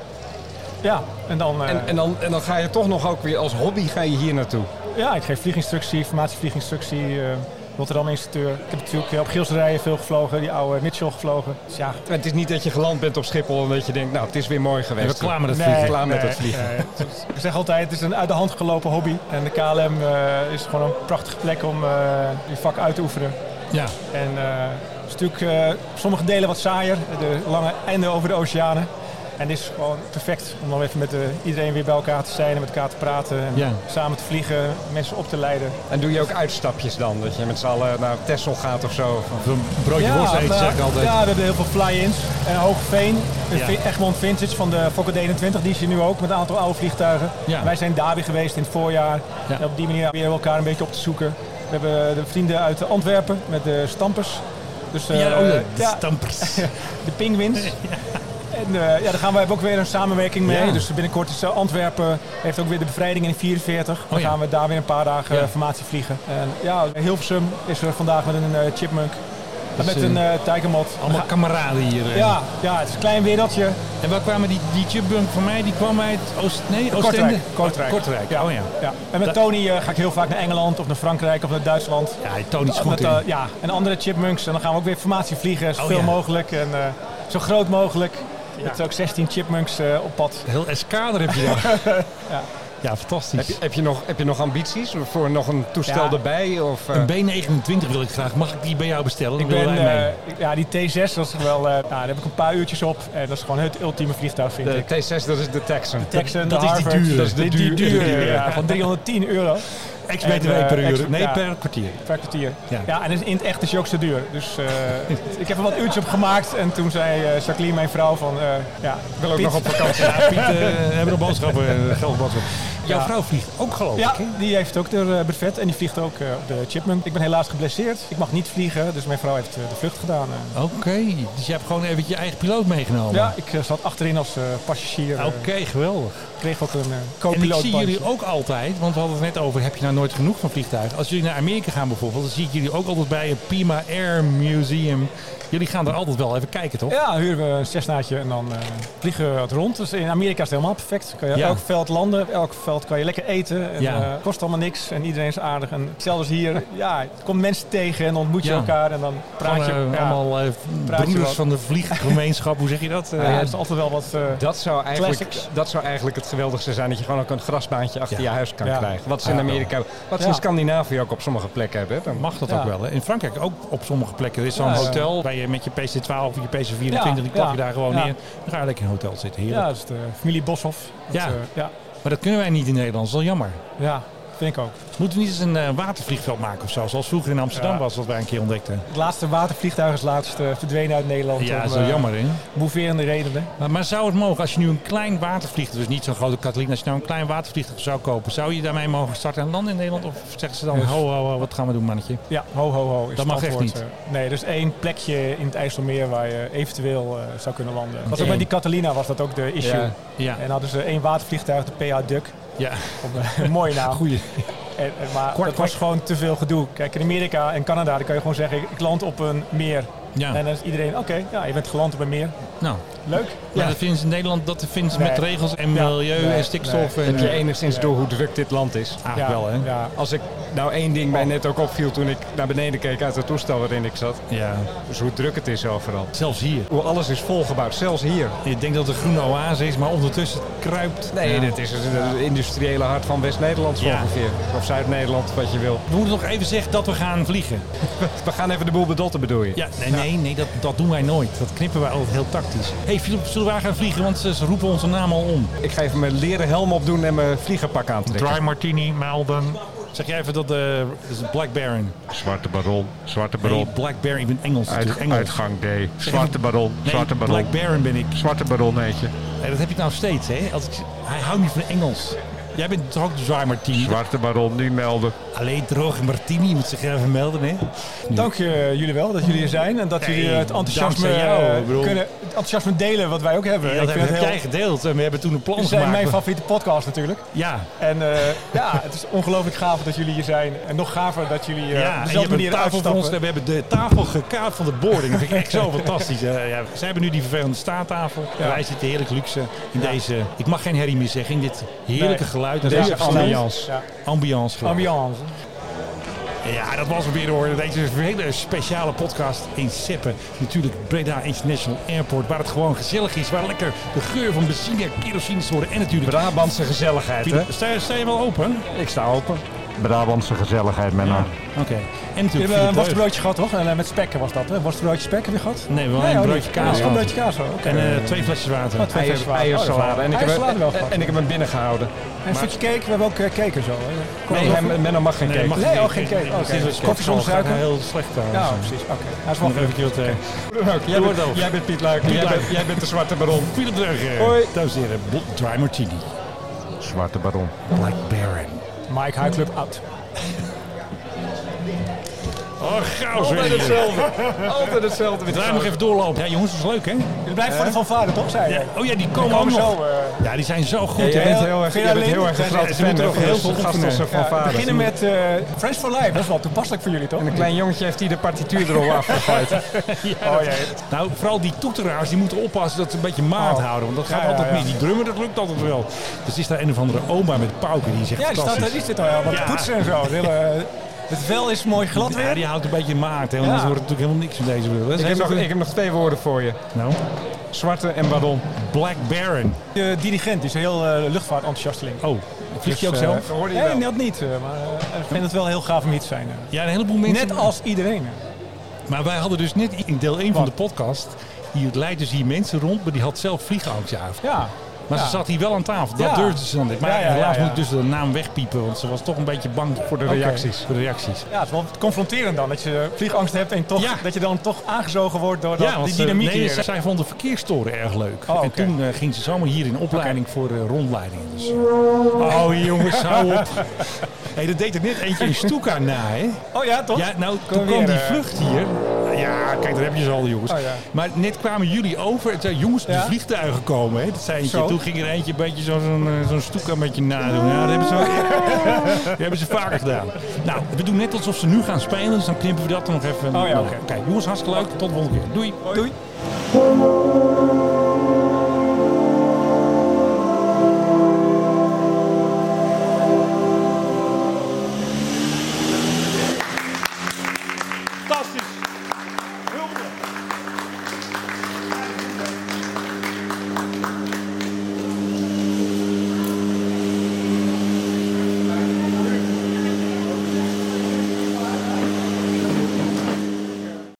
S7: Ja, en dan... eh,
S2: En, en, dan, en dan ga je toch nog ook weer als hobby ga je hier naartoe.
S7: Ja, ik geef vlieginstructie, formatievlieginstructie, eh Rotterdam instructeur. Ik heb natuurlijk eh, op Gilserijen veel gevlogen, die oude Mitchell gevlogen. Dus ja,
S2: Maar het is niet dat je geland bent op Schiphol en dat je denkt, nou, het is weer mooi
S1: En we
S2: geweest.
S1: klaar met het
S7: Nee.
S1: vliegen.
S2: Klaar met
S7: Nee.
S2: het vliegen.
S7: ik zeg altijd, het is een uit de hand gelopen hobby. En de KLM eh, is gewoon een prachtige plek om eh, je vak uit te oefenen.
S1: Ja.
S7: En eh het is natuurlijk eh, sommige delen wat saaier, de lange einden over de oceanen. En het is gewoon perfect om dan even met eh, iedereen weer bij elkaar te zijn en met elkaar te praten. En
S1: Ja.
S7: Samen te vliegen, mensen op te leiden.
S2: En doe je ook uitstapjes dan? Dat je met z'n allen naar Texel gaat of zo? Of-
S1: Of Een broodje worst eten,
S7: maar-
S1: zeg ik altijd.
S7: Ja, we hebben heel veel fly-ins. En Hoogveen, de
S1: Ja.
S7: Vi- Egmond Vintage van de Fokker 21, die is hier nu ook met een aantal oude vliegtuigen.
S1: Ja.
S7: Wij zijn daar weer geweest in het voorjaar.
S1: Ja.
S7: En op die manier proberen we elkaar een beetje op te zoeken. We hebben de vrienden uit Antwerpen met de Stampers. Dus, eh,
S1: Ja, oh ja,
S7: ja,
S1: stampers.
S7: de Penguins. En eh, ja, daar gaan we hebben ook weer een samenwerking mee.
S1: Ja.
S7: Dus binnenkort is eh, Antwerpen heeft ook weer de bevrijding in 44. Dan
S1: Oh ja.
S7: gaan we daar weer een paar dagen
S1: Ja.
S7: eh, formatie vliegen. En ja, Hilversum is er vandaag met een eh, chipmunk. En met een eh tijgermot.
S1: Allemaal kameraden hier. eh.
S7: Ja, ja, het is een klein wereldje.
S1: En waar kwamen die, die chipbunk van mij? Die kwam uit Oost... Nee,
S7: Kortrijk.
S1: Oostende?
S7: Kortrijk.
S1: Kortrijk,
S7: Ja.
S1: oh ja.
S7: Ja. En met
S1: Dat-
S7: Tony eh, ga ik heel vaak naar Engeland of naar Frankrijk of naar Duitsland.
S1: Ja, hij toont iets goed
S7: Met,
S1: in.
S7: eh, ja, en andere chipmunks. En dan gaan we ook weer formatie vliegen, zoveel
S1: ja.
S7: mogelijk en eh, zo groot mogelijk. Met ook 16 chipmunks eh, op pad.
S1: Heel eskader heb je daar.
S7: Ja.
S1: ja, fantastisch.
S2: Heb je, heb, je nog, heb je nog ambities voor nog een toestel
S7: Ja.
S2: erbij? Of, eh,
S1: Een B29 wil ik graag. Mag ik die bij jou bestellen? Dan
S7: Ik
S1: willen
S7: ben,
S1: wij mee.
S7: eh, ik- ja, die T6 was wel, eh, nou, daar heb ik een paar uurtjes op. En dat is gewoon het ultieme vliegtuig, vind
S2: de
S7: ik.
S2: T6, dat is de Texan.
S7: Texan,
S1: dat
S7: de
S1: is die
S7: Harvard,
S1: dure.
S7: Dat is de
S1: Die
S7: duur,
S1: dure, ja.
S7: ja, van 310 euro
S1: Ex-BTW
S7: en, eh,
S1: per uur.
S7: ex-
S1: nee,
S7: ja.
S1: per kwartier.
S7: per kwartier.
S1: Ja.
S7: Ja, en in het echt is je ook zo duur. Dus eh, ik heb er wat uurtjes op gemaakt. En toen zei eh, Jacqueline, mijn vrouw, van eh, ja, ik wil ook nog op vakantie.
S1: Ja, Piet, eh, hebben nog boodschappen, eh, geld boodschappen. Jouw
S7: Ja.
S1: vrouw vliegt ook geloof
S7: Ja,
S1: ik. hè?
S7: die heeft ook de eh, buffet en die vliegt ook eh, op de Chipmunk. Ik ben helaas geblesseerd. Ik mag niet vliegen, dus mijn vrouw heeft eh, de vlucht gedaan. eh.
S1: Oké, dus je hebt gewoon even je eigen piloot meegenomen.
S7: Ja, ik eh, zat achterin als eh, passagier. eh,
S1: Oké, geweldig.
S7: kreeg ook een eh
S1: Nou, En ik
S7: co-piloot.
S1: zie jullie ook altijd, want we hadden het net over, heb je nou nooit genoeg van vliegtuigen? Als jullie naar Amerika gaan bijvoorbeeld, dan zie ik jullie ook altijd bij het Pima Air Museum. Jullie gaan daar altijd wel even kijken, toch?
S7: Ja, huren we een Cessnaatje en dan eh, vliegen we het rond. Dus in Amerika is het helemaal perfect. Kan je
S1: Ja.
S7: elk veld landen, op elk veld kan je lekker eten. En,
S1: Ja.
S7: eh, kost allemaal niks en iedereen is aardig. En zelfs hier, ja, je komt mensen tegen en ontmoet je
S1: Ja.
S7: elkaar en dan praat je.
S1: Gewoon, eh,
S7: ja.
S1: allemaal eh,
S7: praat je
S1: broeders
S7: wat.
S1: van de vlieggemeenschap, hoe zeg je dat? Eh,
S7: Ja, er is altijd wel wat... eh,
S2: Dat zou, eigenlijk,
S7: Classics.
S2: dat zou eigenlijk het geweldigste zijn, dat je gewoon ook een grasbaantje achter
S1: Ja.
S2: je huis kan
S7: Ja.
S2: krijgen. Wat ze in
S1: Ja.
S2: Amerika, wat ze
S7: Ja.
S2: in Scandinavië ook op sommige plekken hebben. hè. Dan
S1: Mag dat
S7: Ja.
S1: ook wel? Hè? In Frankrijk ook op sommige plekken. Er is zo'n
S7: Ja, ja.
S1: hotel waar je met je PC12 of je PC24,
S7: Ja,
S1: die klap je
S7: ja,
S1: daar gewoon
S7: ja.
S1: neer. Dan ga je lekker in een hotel zitten. Heerlijk.
S7: ja, dat is de familie Boshoff. Dat,
S1: Ja.
S7: eh, ja,
S1: Maar dat kunnen wij niet in Nederland. Dat is wel jammer.
S7: ja, vind ik ook.
S1: Moeten we niet eens een eh, watervliegveld maken of zo? Zoals vroeger in Amsterdam
S7: Ja.
S1: was, wat wij een keer ontdekten.
S7: Het laatste watervliegtuig is laatst eh, verdwenen uit Nederland.
S1: Ja,
S7: om,
S1: dat is wel
S7: eh,
S1: jammer, hè?
S7: Moverende redenen.
S1: Maar, maar zou het mogen, als je nu een klein watervliegtuig, dus niet zo'n grote Katalin, als je nou een klein watervliegtuig zou kopen, zou je daarmee mogen starten en landen in Nederland? Of zeggen ze dan, ho, ho, ho, wat gaan we doen, mannetje?
S7: Ja, ho, ho, ho. Is
S1: Dat
S7: het
S1: mag echt
S7: antwoord,
S1: niet.
S7: eh. nee, er is één plekje in het IJsselmeer waar je eventueel eh, zou kunnen landen. Was ook
S1: Eén.
S7: bij die Catalina was dat ook de issue.
S2: Ja.
S1: Ja,
S7: En hadden ze één watervliegtuig, de PH Duck.
S1: ja.
S7: Op een, een mooie naam.
S1: Goeie.
S7: En, en- maar
S1: Kwak,
S7: dat was gewoon te veel gedoe. Kijk, in Amerika en Canada dan kan je gewoon zeggen, ik land op een meer.
S1: Ja,
S7: En dan is iedereen, oké, ja, je bent geland op een meer.
S1: nou.
S7: Leuk.
S1: Ja, dat vinden ze in Nederland, dat vinden ze
S7: Nee.
S1: met regels en
S7: Ja.
S1: milieu
S7: Nee,
S1: en stikstof.
S2: heb
S1: En, eh,
S2: je enigszins door hoe druk dit land is.
S1: eigenlijk wel, hè?
S7: Ja.
S2: Als ik nou één ding mij net ook opviel toen ik naar beneden keek uit het toestel waarin ik zat.
S1: Ja,
S2: Dus hoe druk het is overal.
S1: zelfs hier.
S2: Hoe alles is volgebouwd, zelfs hier.
S1: Je denkt dat het een groene oase is, maar ondertussen kruipt.
S2: Nee,
S1: Ja.
S2: dit is het het industriële hart van West-Nederland zo
S1: Ja.
S2: ongeveer. Of Zuid-Nederland, wat je wil.
S1: We moeten nog even zeggen dat we gaan vliegen.
S2: We gaan even de boel bedotten, bedoel je?
S1: Ja, nee, nee, nee dat, dat doen wij nooit. Dat knippen wij altijd heel tactisch. Hé, hey, Philip, zullen wij gaan vliegen? Want ze, ze roepen onze naam al om.
S2: Ik ga even mijn leren helm opdoen en mijn vliegerpak aantrekken.
S1: Martini, Malden, Zeg jij even dat de is het Black Baron.
S8: Zwarte baron, zwarte
S1: Nee,
S8: baron.
S1: Black Baron. Ik ben Engels.
S8: Uit-
S1: natuurlijk, Engels.
S8: uitgang D. Zwarte baron,
S1: Nee,
S8: zwarte baron.
S1: Black Baron ben ik.
S8: Zwarte baron heet je.
S1: Nee, dat heb ik nou steeds. Hè? Als ik, hij houdt niet van Engels. Jij bent toch ook de zwaar Martini?
S8: Zwarte baron, die melden.
S1: Alleen droge Martini je moet zich even melden. Hè?
S7: Dank je, jullie wel dat jullie er zijn en dat
S1: Nee,
S7: jullie eh, het enthousiasme,
S1: dankzij jou,
S7: eh,
S1: ik bedoel-
S7: kunnen, het enthousiasme delen wat wij ook hebben.
S1: dat heb,
S7: vind
S1: heb
S7: het heel-
S1: jij gedeeld. En we hebben toen een plan
S7: Jullie
S1: gemaakt.
S7: zijn mijn favoriete podcast natuurlijk.
S1: ja,
S7: En eh, ja, het is ongelooflijk gaaf dat jullie hier zijn. En nog gaver dat jullie eh,
S1: ja.
S7: op
S1: en je
S7: dezelfde
S1: hebt een
S7: manier
S1: tafel voor ons.
S7: uitstappen.
S1: We hebben de tafel gekaapt van de boarding. Dat vind ik echt zo fantastisch. Eh, ja, zij hebben nu die vervelende staattafel. En wij zitten heerlijk luxe in deze... Ik mag geen herrie meer zeggen. In dit heerlijke
S7: Nee.
S1: geluid. en
S7: Deze
S1: deze
S7: afstand.
S1: ambiance.
S7: Ja.
S1: Ambiance geluid.
S7: Ambiance.
S1: Ja, dat was hem weer hoor. Deze is een hele speciale podcast in Seppen. Natuurlijk Breda International Airport, waar het gewoon gezellig is. Waar lekker de geur van benzine en kerosine is te horen. En natuurlijk...
S2: Brabantse gezelligheid, hè?
S1: Philip, sta, sta je wel open?
S2: Ik sta open.
S8: Brabantse gezelligheid, Menno.
S1: Oké. En
S7: We
S1: natuurlijk
S7: hebben eh, een
S1: Philip Deug.
S7: worstbroodje gehad, toch? En, eh, met spekken was dat, hè? Worstbroodje spek heb je gehad?
S1: Nee, we hadden een
S7: oh,
S1: broodje
S7: niet.
S1: kaas
S7: Oh, Een
S1: gehad.
S7: broodje kaas, hoor. oké.
S1: En eh, twee flesjes water.
S7: Oh, twee flesjes water.
S2: Eiersalade. En ik heb
S7: Eiersalade wel
S2: hem-
S7: gehad.
S2: en ik heb hem binnen gehouden.
S7: En een stukje cake, we hebben ook eh, cake en zo. hè? Kom
S2: Nee,
S7: maar
S2: hem-
S7: op.
S2: Menno mag geen
S1: Nee,
S2: cake.
S1: mag
S7: Nee,
S1: niet.
S7: oh, geen cake.
S1: Dat is dus-
S7: Oké.
S1: een
S7: Koffie zonder
S1: sportzaal,
S7: suiker?
S1: Heel slecht trouwens.
S7: Ja, precies. Oké. Hij is wel
S1: Nog
S7: goed.
S1: eventjes wat... eh,
S2: Jij
S1: Doe het
S2: bent,
S1: ook.
S2: jij bent Piet Luiken. Jij,
S1: Luiken.
S2: bent- jij bent de zwarte baron.
S1: Philip Deug.
S2: Hoi.
S1: Dames en heren, Bo- Dry Martini.
S8: Zwarte baron.
S1: Black Baron.
S7: Mike High Club out.
S1: Oh, chaos weer
S2: Altijd
S1: hier.
S2: hetzelfde. Altijd hetzelfde. met die
S1: Draai nog even doorlopen. Ja jongens, dat is leuk hè?
S7: Jullie blijven voor de fanfare, toch? Zei je?
S1: Ja, oh ja, die komen,
S7: Komen
S1: ook nog.
S7: zo. eh,
S1: Ja, die zijn zo goed.
S2: Ja, jij
S1: hè?
S2: bent heel erg,
S7: Vind
S2: jij
S7: je
S2: bent
S7: alleen-
S2: heel erg een
S7: Ze
S2: grote
S1: moeten
S2: fan
S1: er ook
S2: hè,
S1: heel
S2: van
S1: veel
S2: de gasten
S1: oefenen.
S2: als
S7: ja,
S2: van
S7: we
S2: vader.
S7: beginnen met eh Friends for Life. Dat is wel toepasselijk voor jullie, toch?
S2: Een klein jongetje heeft hier de partituur er al afgegooid.
S1: Ja, dat- Nou, vooral die toeteraars die moeten oppassen dat ze een beetje maat
S7: Oh.
S1: houden. Want dat
S7: Ja,
S1: gaat
S7: ja,
S1: altijd
S7: ja.
S1: niet. Die drummer, dat lukt altijd wel. Dus is daar een of andere oma met pauken die zegt
S7: Ja, die staat
S1: fantastisch.
S7: daar, die zit al helemaal
S1: Ja.
S7: te poetsen en zo. Het, hele, eh, het vel is mooi glad
S1: ja,
S7: weer.
S1: die houdt een beetje maat. Hè, anders
S7: Ja.
S1: wordt het natuurlijk helemaal niks van deze wereld. Dat is
S2: ik, heb
S1: heel
S2: nog,
S1: goed.
S2: ik heb nog twee woorden voor je.
S1: Nou,
S2: Zwarte en baron.
S1: Black Baron.
S7: De dirigent eh, die is een heel eh, luchtvaartenthousiasteling.
S1: Oh, vliegt je ook
S7: Dus, eh,
S1: zelf?
S2: hoorde je
S7: Nee,
S2: wel.
S7: dat niet. eh, maar eh, ik vind het wel heel gaaf om hier te zijn. eh.
S1: Ja, een heleboel mensen.
S7: Net als iedereen. eh.
S1: Maar wij hadden dus net in deel 1 van de podcast... Hier leidt dus hier mensen rond, maar die had zelf vliegangst. Ja,
S7: Ja.
S1: Maar
S7: Ja.
S1: ze zat hier wel aan tafel. Dat
S7: Ja.
S1: durfde ze dan niet. Maar
S7: Ja, ja, ja,
S1: helaas
S7: ja.
S1: moet ik dus de naam wegpiepen. Want ze was toch een beetje bang voor de
S7: Oké.
S1: reacties. Voor de reacties.
S7: ja, het is wel confronterend dan. Dat je eh, vliegangst hebt en toch,
S1: Ja.
S7: dat je dan toch aangezogen wordt door dat,
S1: Ja, want
S7: die
S1: ze-
S7: dynamiek
S1: eh, nee,
S7: hier. eh.
S1: zij vond de verkeerstoren erg leuk. En
S7: Oh, oké.
S1: toen eh, ging ze zomaar hier in opleiding voor eh, rondleidingen. Dus, eh, oh jongens, hou op. hey, dat deed er net eentje in Stuka na, hè?
S7: Oh ja, toch?
S1: Ja, nou, toen
S7: Kom
S1: kwam
S7: weer,
S1: die
S7: eh.
S1: vlucht hier. Nou Ja, kijk, daar heb je ze al, jongens.
S7: Oh, ja.
S1: Maar net kwamen jullie over en zeiden, jongens, de
S7: Ja.
S1: vliegtuigen komen. Hè? Dat zei eentje.
S7: Zo.
S1: Toen ging er eentje een beetje zo- zo'n eh, zo'n stoeka met je nadoen. Ja, dat hebben ze, dat hebben ze vaker gedaan. Nou, we doen net alsof ze nu gaan spelen, dus dan knippen we dat er nog even.
S7: Oh ja, oké.
S1: Oké, jongens, hartstikke leuk. Tot de volgende keer. Doei.
S7: Doei.